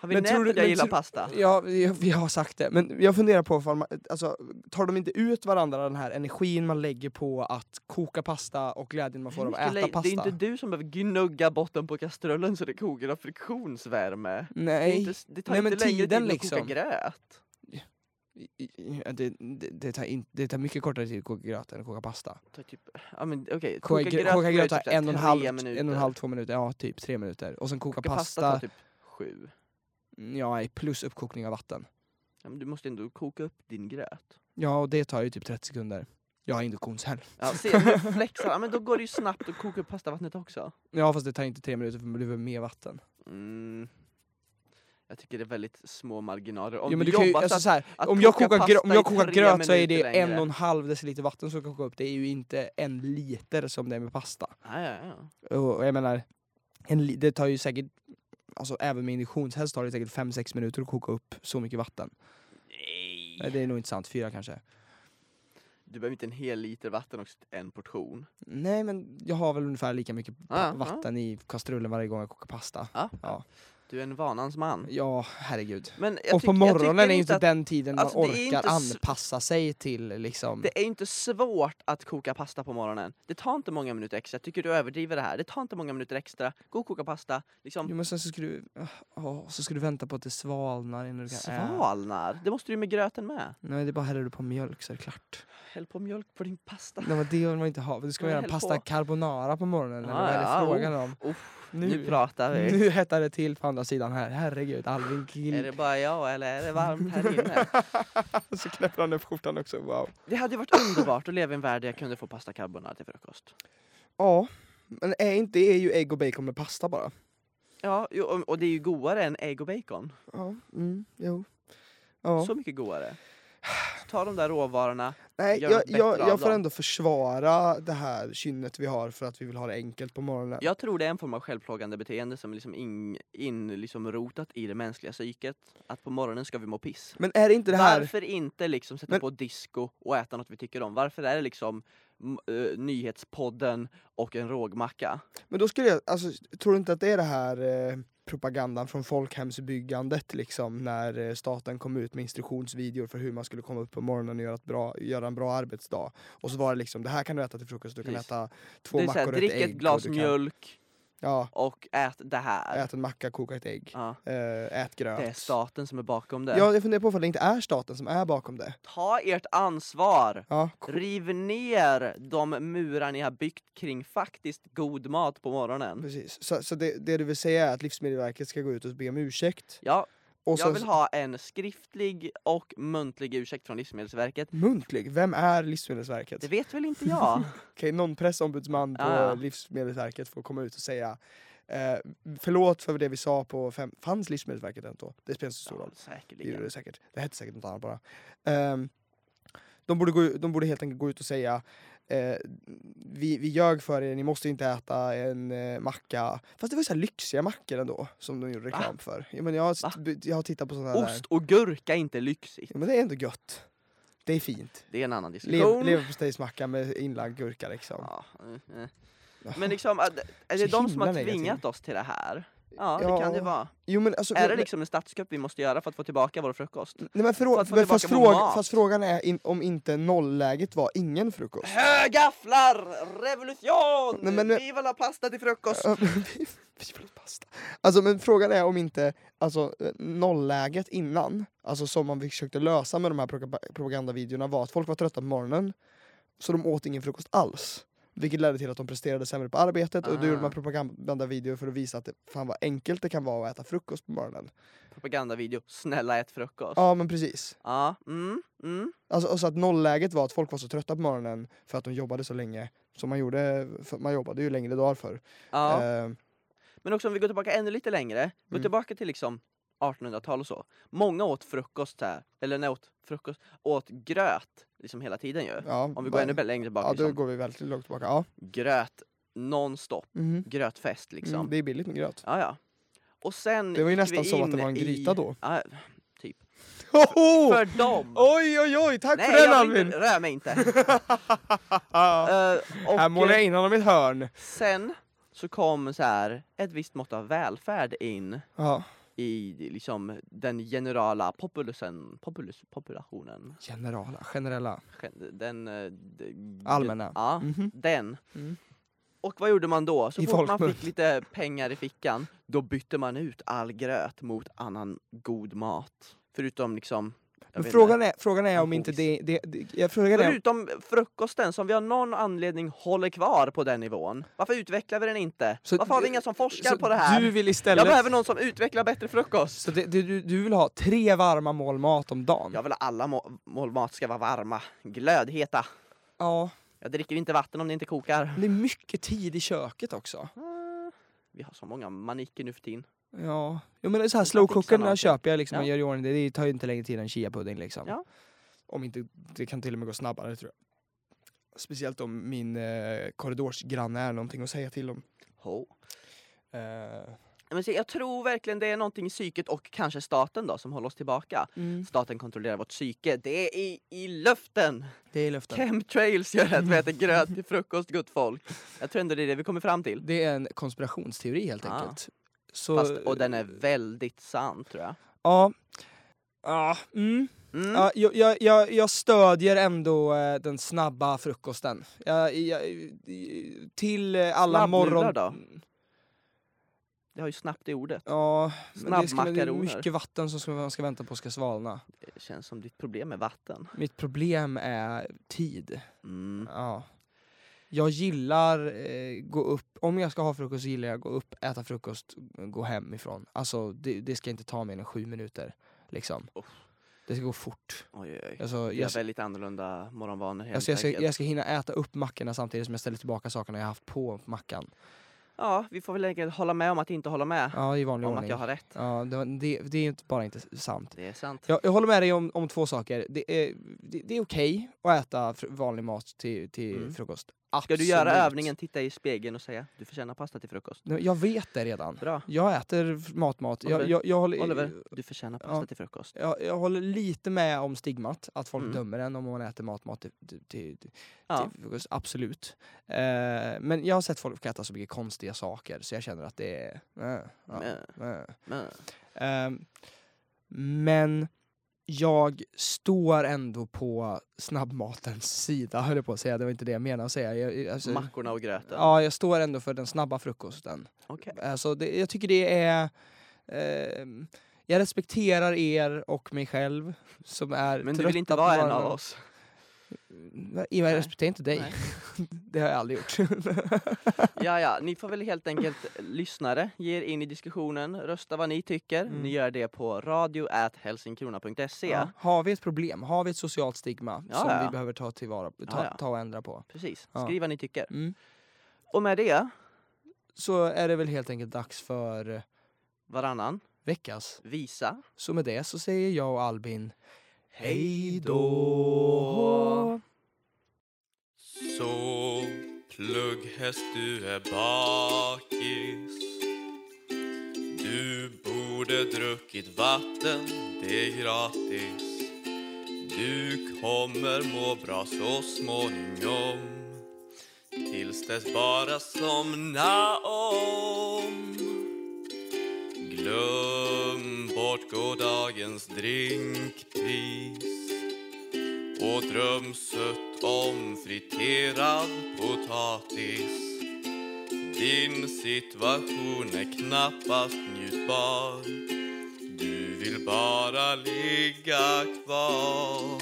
Speaker 1: Har vi
Speaker 2: Men
Speaker 1: nämnt
Speaker 2: tror du-
Speaker 1: att jag
Speaker 2: men
Speaker 1: gillar
Speaker 2: tror-
Speaker 1: pasta?
Speaker 2: (laughs) Ja, vi vi har sagt det. Men jag funderar på, ifall man, alltså, tar de inte ut varandra den här energin man lägger på att koka pasta och glädjen man får
Speaker 1: Hur
Speaker 2: av att
Speaker 1: mycket
Speaker 2: äta
Speaker 1: le- Det är inte
Speaker 2: pasta?
Speaker 1: du som behöver gnugga botten på kastrullen så det kokar av friktionsvärme. Det, är
Speaker 2: Nej,
Speaker 1: inte, s- det tar
Speaker 2: Nej, men
Speaker 1: inte längre tid
Speaker 2: tiden,
Speaker 1: att koka
Speaker 2: liksom.
Speaker 1: gröt.
Speaker 2: Ja, det, det, det, tar in, det tar mycket kortare tid att koka gröt än att koka pasta.
Speaker 1: Det tar typ, ja men okej,
Speaker 2: Koka,
Speaker 1: koka gröt,
Speaker 2: koka
Speaker 1: tar
Speaker 2: gröt
Speaker 1: ju typ
Speaker 2: tar
Speaker 1: så här
Speaker 2: en och en,
Speaker 1: tre
Speaker 2: halv,
Speaker 1: minuter.
Speaker 2: en och en halv, två minuter, ja typ tre minuter. Och sen koka,
Speaker 1: Koka
Speaker 2: pasta,
Speaker 1: pasta tar typ sju.
Speaker 2: ja, nej, plus uppkokning av vatten.
Speaker 1: Ja, men du måste ändå koka upp din gröt.
Speaker 2: Ja, och det tar ju typ 30 sekunder. Jag har induktionshäll.
Speaker 1: Ja, se, nu flexar Ja, men då går det ju snabbt att koka upp pastavattnet också.
Speaker 2: Ja, fast det tar inte tre minuter för du behöver mer vatten.
Speaker 1: Mm. Jag tycker det är väldigt små marginaler. Om
Speaker 2: jo, men
Speaker 1: du,
Speaker 2: du kan ju,
Speaker 1: jobbar så
Speaker 2: alltså,
Speaker 1: att,
Speaker 2: så här,
Speaker 1: att
Speaker 2: om jag
Speaker 1: koka
Speaker 2: kokar, grö-
Speaker 1: pasta
Speaker 2: om jag
Speaker 1: i
Speaker 2: kokar
Speaker 1: tre
Speaker 2: gröt så är
Speaker 1: minuter
Speaker 2: det en
Speaker 1: längre.
Speaker 2: och en halv deciliter vatten som ska koka upp. Det är ju inte en liter som det är med pasta.
Speaker 1: ja, ja, ja.
Speaker 2: Och, och jag menar, en li- det tar ju säkert, alltså även med induktionshäll så tar det säkert 5-6 minuter att koka upp så mycket vatten. Nej,
Speaker 1: Nej.
Speaker 2: Det är nog inte sant, fyra kanske.
Speaker 1: Du behöver inte en hel liter vatten också, till en portion.
Speaker 2: Nej men jag har väl ungefär lika mycket pa-
Speaker 1: Ja, ja.
Speaker 2: vatten i kastrullen varje gång jag kokar pasta.
Speaker 1: Ja.
Speaker 2: Ja.
Speaker 1: Du är en vanans man.
Speaker 2: Ja, herregud.
Speaker 1: Men jag
Speaker 2: och på
Speaker 1: tyck- jag
Speaker 2: morgonen
Speaker 1: tycker
Speaker 2: är ju inte
Speaker 1: att-
Speaker 2: den tiden
Speaker 1: alltså, det
Speaker 2: man
Speaker 1: är
Speaker 2: orkar
Speaker 1: inte s-
Speaker 2: anpassa sig till liksom...
Speaker 1: Det är inte svårt att koka pasta på morgonen. Det tar inte många minuter extra. Jag tycker du överdriver det här. Det tar inte många minuter extra. Gå och koka pasta. Liksom
Speaker 2: Jo men sen så ska du, åh, så ska du vänta på att det svalnar innan
Speaker 1: eh.
Speaker 2: du kan äta.
Speaker 1: svalnar. Det måste du med gröten med.
Speaker 2: Nej det är bara häller du på mjölk så är det klart.
Speaker 1: Häll på mjölk på din pasta.
Speaker 2: Nej men det vill man inte ha. Du ska
Speaker 1: Men
Speaker 2: göra
Speaker 1: häll
Speaker 2: pasta
Speaker 1: på.
Speaker 2: carbonara på morgonen eller
Speaker 1: Ah,
Speaker 2: vad är
Speaker 1: ja,
Speaker 2: det frågan om?
Speaker 1: Uff,
Speaker 2: Nu-
Speaker 1: nu, pratar vi.
Speaker 2: Nu hettar det till på andra sidan här, herregud Alvin
Speaker 1: Är
Speaker 2: grill.
Speaker 1: det bara jag eller är det varmt här inne? (laughs)
Speaker 2: (laughs) så knäpper han upp skjortan också, wow.
Speaker 1: Det hade ju varit underbart att leva i en värld där jag kunde få pasta carbonara till frukost.
Speaker 2: Ja, men är inte, det är ju ägg och bacon med pasta bara.
Speaker 1: Ja, jo, och- och det är ju godare än ägg och bacon.
Speaker 2: Ja, mm, jo. Ja.
Speaker 1: Så mycket godare. Så ta de där råvarorna.
Speaker 2: Nej,
Speaker 1: gör
Speaker 2: jag,
Speaker 1: något
Speaker 2: jag,
Speaker 1: bättre av
Speaker 2: jag får
Speaker 1: dem.
Speaker 2: ändå försvara det här kynnet vi har för att vi vill ha det enkelt på morgonen.
Speaker 1: Jag tror det är en form av självplågande beteende som är liksom in, in, liksom rotat i det mänskliga psyket. Att på morgonen ska vi må piss.
Speaker 2: Men är det inte det här...
Speaker 1: Varför inte liksom sätta
Speaker 2: Men-
Speaker 1: på disco och äta något vi tycker om? Varför är det liksom m- eh, nyhetspodden och en rågmacka?
Speaker 2: Men då skulle jag, alltså, tror du inte att det är det här eh, propagandan från folkhemsbyggandet liksom när eh, staten kom ut med instruktionsvideor för hur man skulle komma upp på morgonen och göra, ett bra, göra en bra arbetsdag. Och så var det liksom, det här kan du äta till frukost, du kan
Speaker 1: Precis.
Speaker 2: äta två
Speaker 1: det är
Speaker 2: mackor
Speaker 1: såhär,
Speaker 2: och ett
Speaker 1: drick
Speaker 2: ägg.
Speaker 1: ett glas
Speaker 2: och du
Speaker 1: mjölk
Speaker 2: Kan, ja,
Speaker 1: och ät det här.
Speaker 2: ät en macka, koka ett ägg,
Speaker 1: Ja.
Speaker 2: eh, ät gröt.
Speaker 1: Det är staten som är bakom det.
Speaker 2: Ja, jag funderar på om det inte är staten som är bakom det.
Speaker 1: Ta ert ansvar!
Speaker 2: Ja,
Speaker 1: Riv ner de murar ni har byggt kring faktiskt god mat på morgonen.
Speaker 2: precis. Så, så det, det du vill säga är att Livsmedelsverket ska gå ut och be om ursäkt.
Speaker 1: Ja,
Speaker 2: Och
Speaker 1: jag
Speaker 2: sen,
Speaker 1: vill ha en skriftlig och muntlig ursäkt från Livsmedelsverket.
Speaker 2: Muntlig? Vem är Livsmedelsverket?
Speaker 1: Det vet väl inte jag?
Speaker 2: Okej, någon pressombudsman på
Speaker 1: Ja, ja.
Speaker 2: Livsmedelsverket får komma ut och säga eh, förlåt för det vi sa på fem... Fanns Livsmedelsverket ens då? Det spelar inte (laughs) så stor
Speaker 1: Ja,
Speaker 2: roll. Det gjorde
Speaker 1: säkerligen.
Speaker 2: det säkert. Det hette säkert något annat bara. Ehm, de, borde gå, ut- de borde helt enkelt gå ut och säga eh, vi, vi ljög för er, ni måste inte äta en eh, macka. Fast det var ju så här lyxiga mackor ändå som de gjorde
Speaker 1: Va?
Speaker 2: reklam för. Ja, men jag, har
Speaker 1: Va?
Speaker 2: st- jag har tittat på sådana där.
Speaker 1: Ost och gurka är inte lyxigt.
Speaker 2: Ja, men det är ändå gött. Det är fint.
Speaker 1: Det är en annan
Speaker 2: Lev,
Speaker 1: diskussion.
Speaker 2: Leverpastejsmacka med inlagd gurka liksom.
Speaker 1: Ja, eh, eh. Men liksom, att- är det
Speaker 2: Så
Speaker 1: de som har
Speaker 2: himla negativ.
Speaker 1: tvingat oss till det här? Ja, det kan det
Speaker 2: Ja.
Speaker 1: vara.
Speaker 2: Jo men alltså...
Speaker 1: Är det
Speaker 2: men-
Speaker 1: liksom en statskupp vi måste göra för att få tillbaka vår frukost?
Speaker 2: Nej, men
Speaker 1: för
Speaker 2: frå-
Speaker 1: att få
Speaker 2: men fast,
Speaker 1: tillbaka vår
Speaker 2: fråga,
Speaker 1: mat?
Speaker 2: fast frågan är in, om inte nollläget var
Speaker 1: (laughs)
Speaker 2: ingen frukost.
Speaker 1: Högafflar! Revolution!
Speaker 2: Nej, men nu-
Speaker 1: Vi vill ha pasta till frukost!
Speaker 2: Ja, men vi- vi vill ha pasta. Alltså men frågan är om inte alltså, eh, nollläget innan, alltså som man försökte lösa med de här propa- propagandavideorna var att folk var trötta på morgonen så de åt ingen frukost alls. Vilket ledde till att de presterade sämre på arbetet och då gjorde
Speaker 1: Ah.
Speaker 2: man propagandavideor för att visa att det, fan vad enkelt det kan vara att äta frukost på morgonen.
Speaker 1: Propagandavideo, snälla ät frukost. Ja.
Speaker 2: Ja men precis.
Speaker 1: mm, mm.
Speaker 2: Alltså, alltså att nollläget var att folk var så trötta på morgonen för att de jobbade så länge. Så man gjorde, för man jobbade ju längre dagar förr.
Speaker 1: Ja.
Speaker 2: Eh,
Speaker 1: Men också om vi går tillbaka ännu lite längre, gå
Speaker 2: Mm.
Speaker 1: tillbaka till liksom 1800-tal och så. Många åt frukost här, eller nej åt frukost, åt gröt liksom hela tiden ju.
Speaker 2: ja,
Speaker 1: Om vi går ännu längre tillbaka,
Speaker 2: Ja, då
Speaker 1: liksom,
Speaker 2: går vi väldigt långt tillbaka. Ja.
Speaker 1: gröt nonstop,
Speaker 2: Mhm.
Speaker 1: grötfest liksom.
Speaker 2: Mm, det är billigt
Speaker 1: (laughs)
Speaker 2: med gröt.
Speaker 1: Ja, ja. Och sen
Speaker 2: Det var ju
Speaker 1: gick vi
Speaker 2: nästan som att det
Speaker 1: in
Speaker 2: var en gryta
Speaker 1: i...
Speaker 2: då.
Speaker 1: Ja, typ.
Speaker 2: Hoho!
Speaker 1: För dem!
Speaker 2: Oj, oj, oj! Tack
Speaker 1: Nej,
Speaker 2: för den
Speaker 1: jag vill
Speaker 2: Albin!
Speaker 1: inte, rör mig
Speaker 2: (laughs)
Speaker 1: inte!
Speaker 2: Ah,
Speaker 1: Eh, och
Speaker 2: här målar jag in honom i ett hörn.
Speaker 1: sen så kom så här ett visst mått av välfärd in
Speaker 2: Ja.
Speaker 1: i liksom den generala populusen, populus, populationen.
Speaker 2: Generala, generella.
Speaker 1: Gen- Den... eh, d-
Speaker 2: Allmänna.
Speaker 1: Ja,
Speaker 2: Mhm.
Speaker 1: den.
Speaker 2: Mm.
Speaker 1: Och vad gjorde man då? Så
Speaker 2: I
Speaker 1: fort man
Speaker 2: folkmun.
Speaker 1: fick lite pengar i fickan, då bytte man ut all gröt mot annan god mat. Förutom liksom... jag
Speaker 2: Men
Speaker 1: vet
Speaker 2: frågan är, frågan är om
Speaker 1: Godis.
Speaker 2: inte det... det, det jag frågar
Speaker 1: inte.
Speaker 2: är,
Speaker 1: Förutom frukosten som vi av någon anledning håller kvar på den nivån. Varför utvecklar vi den inte?
Speaker 2: Så-
Speaker 1: Varför har vi inga som forskar
Speaker 2: så
Speaker 1: på det här?
Speaker 2: Du vill
Speaker 1: Jag
Speaker 2: istället...
Speaker 1: behöver någon som utvecklar bättre frukost.
Speaker 2: Så det, det, du, du vill ha tre varma mål mat om dagen?
Speaker 1: Jag vill att alla må- mål mat ska vara varma, glödheta.
Speaker 2: Ja.
Speaker 1: Jag dricker inte vatten om det inte kokar.
Speaker 2: Det är mycket tid i köket också.
Speaker 1: Mm, Vi har så många maniker nu för tiden.
Speaker 2: Ja. Jo men det är så här
Speaker 1: kan
Speaker 2: slowcookerna
Speaker 1: fixa
Speaker 2: köper jag liksom
Speaker 1: Ja.
Speaker 2: och gör i ordning det. Det tar ju inte längre tid än chiapudding liksom.
Speaker 1: Ja.
Speaker 2: Om inte, det kan till och med gå snabbare tror jag. Speciellt om min eh, korridorsgranne är någonting att säga till om.
Speaker 1: Ho.
Speaker 2: Eh,
Speaker 1: Men se, jag tror verkligen det är någonting i psyket och kanske staten då som håller oss tillbaka.
Speaker 2: Mm.
Speaker 1: Staten kontrollerar vårt psyke. Det är i, i luften!
Speaker 2: Det är luften.
Speaker 1: Chemtrails gör att vi
Speaker 2: (laughs)
Speaker 1: äter gröt till frukost, gott folk. Jag tror ändå det är det vi kommer fram till.
Speaker 2: Det är en konspirationsteori helt
Speaker 1: Ah.
Speaker 2: enkelt. Så,
Speaker 1: Fast, och den är väldigt sann tror jag.
Speaker 2: Ja. Ja, mm.
Speaker 1: Mm.
Speaker 2: Ja, jag, jag, jag, jag stödjer ändå eh, den snabba frukosten. Jag, jag, till eh, alla
Speaker 1: Snabbnudlar
Speaker 2: morgon...
Speaker 1: då? Det har ju snabbt i ordet.
Speaker 2: Ja, men det, ska, det är
Speaker 1: Snabbmakaroner.
Speaker 2: mycket vatten som ska, man ska vänta på ska svalna.
Speaker 1: Det känns som ditt problem med vatten.
Speaker 2: Mitt problem är tid.
Speaker 1: Mm.
Speaker 2: Ja. Jag gillar eh, gå upp, om jag ska ha frukost så gillar jag gå upp, äta frukost, gå hemifrån. Alltså det, det ska inte ta mer än sju minuter. Liksom.
Speaker 1: Uff.
Speaker 2: Det ska gå fort.
Speaker 1: Oj, oj, oj.
Speaker 2: Alltså,
Speaker 1: Vi
Speaker 2: jag,
Speaker 1: har väldigt annorlunda morgonvanor helt
Speaker 2: Alltså jag, ska,
Speaker 1: enkelt.
Speaker 2: jag ska hinna äta upp mackorna samtidigt som jag ställer tillbaka sakerna jag haft på mackan.
Speaker 1: Ja, vi får väl helt enkelt hålla med om att inte hålla med.
Speaker 2: Ja, i vanlig
Speaker 1: om
Speaker 2: ordning.
Speaker 1: att jag har rätt.
Speaker 2: Ja, det, var- det, det är ju inte bara inte sant.
Speaker 1: Det är sant.
Speaker 2: Jag, jag håller med dig om, om två saker. Det är, det, det är okej att äta fr- vanlig mat till, till
Speaker 1: Mm.
Speaker 2: frukost.
Speaker 1: Ska
Speaker 2: Absolut.
Speaker 1: du göra övningen, titta i spegeln och säga du förtjänar pasta till frukost?
Speaker 2: Nej, Jag vet det redan.
Speaker 1: Bra.
Speaker 2: Jag äter matmat. Jag,
Speaker 1: Oliver,
Speaker 2: jag, jag, håller,
Speaker 1: Oliver, du förtjänar pasta
Speaker 2: ja.
Speaker 1: till frukost.
Speaker 2: Jag, jag håller lite med om stigmat, att folk
Speaker 1: Mm.
Speaker 2: dömer en om man äter matmat till, till, till,
Speaker 1: Ja.
Speaker 2: till frukost. Absolut. Eh, men jag har sett folk äta så mycket konstiga saker så jag känner att det är... eh, ja,
Speaker 1: Men,
Speaker 2: eh.
Speaker 1: men,
Speaker 2: Ehm, men jag står ändå på snabbmatens sida, höll jag på att säga. Det var inte det jag menade att säga. Jag, jag- alltså,
Speaker 1: mackorna och gröten.
Speaker 2: ja, jag står ändå för den snabba frukosten.
Speaker 1: Okej.
Speaker 2: Alltså, det, jag tycker det är... ehm, jag respekterar er och mig själv som är
Speaker 1: Men du
Speaker 2: trötta
Speaker 1: vill inte
Speaker 2: på
Speaker 1: vara en av
Speaker 2: morgonen.
Speaker 1: oss?
Speaker 2: Nej, Jag respekterar inte dig.
Speaker 1: Nej.
Speaker 2: (laughs) det har jag aldrig gjort.
Speaker 1: (laughs) Ja, ja, ni får väl helt enkelt lyssnare, ge er in i diskussionen, rösta vad ni tycker.
Speaker 2: Mm.
Speaker 1: Ni gör det på radio@helsingkrona.se.
Speaker 2: Ja. Har vi ett problem? Har vi ett socialt stigma
Speaker 1: Ja,
Speaker 2: som
Speaker 1: ja.
Speaker 2: vi behöver ta, tillvara, ta,
Speaker 1: Ja, ja.
Speaker 2: ta och ändra på?
Speaker 1: Precis,
Speaker 2: Ja.
Speaker 1: skriv vad ni tycker.
Speaker 2: Mm.
Speaker 1: Och med det,
Speaker 2: så är det väl helt enkelt dags för
Speaker 1: varannan,
Speaker 2: veckas.
Speaker 1: visa.
Speaker 2: Så med det så säger jag och Albin hej
Speaker 1: då.
Speaker 2: då!
Speaker 3: Så plugghäst du är bakis Du borde druckit vatten, det är gratis Du kommer må bra så småningom Tills dess bara somna om Snart går dagens drinkpris och drömsött om friterad potatis. Din situation är knappast njutbar. Du vill bara ligga kvar.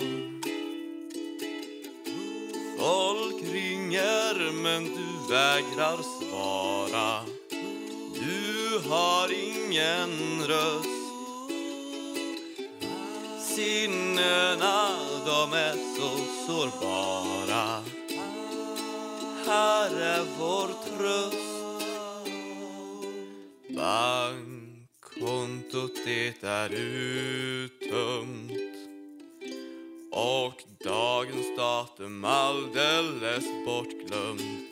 Speaker 3: Folk ringer men du vägrar svara. Du har ingen röst. Sinnena de är så sårbara. Här är vår tröst. Bankkontot det är uttömt och dagens datum alldeles bortglömd.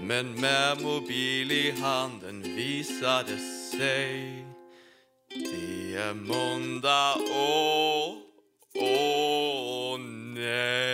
Speaker 3: Men med mobil i handen visade sig er det är måndag, åh, åh nej.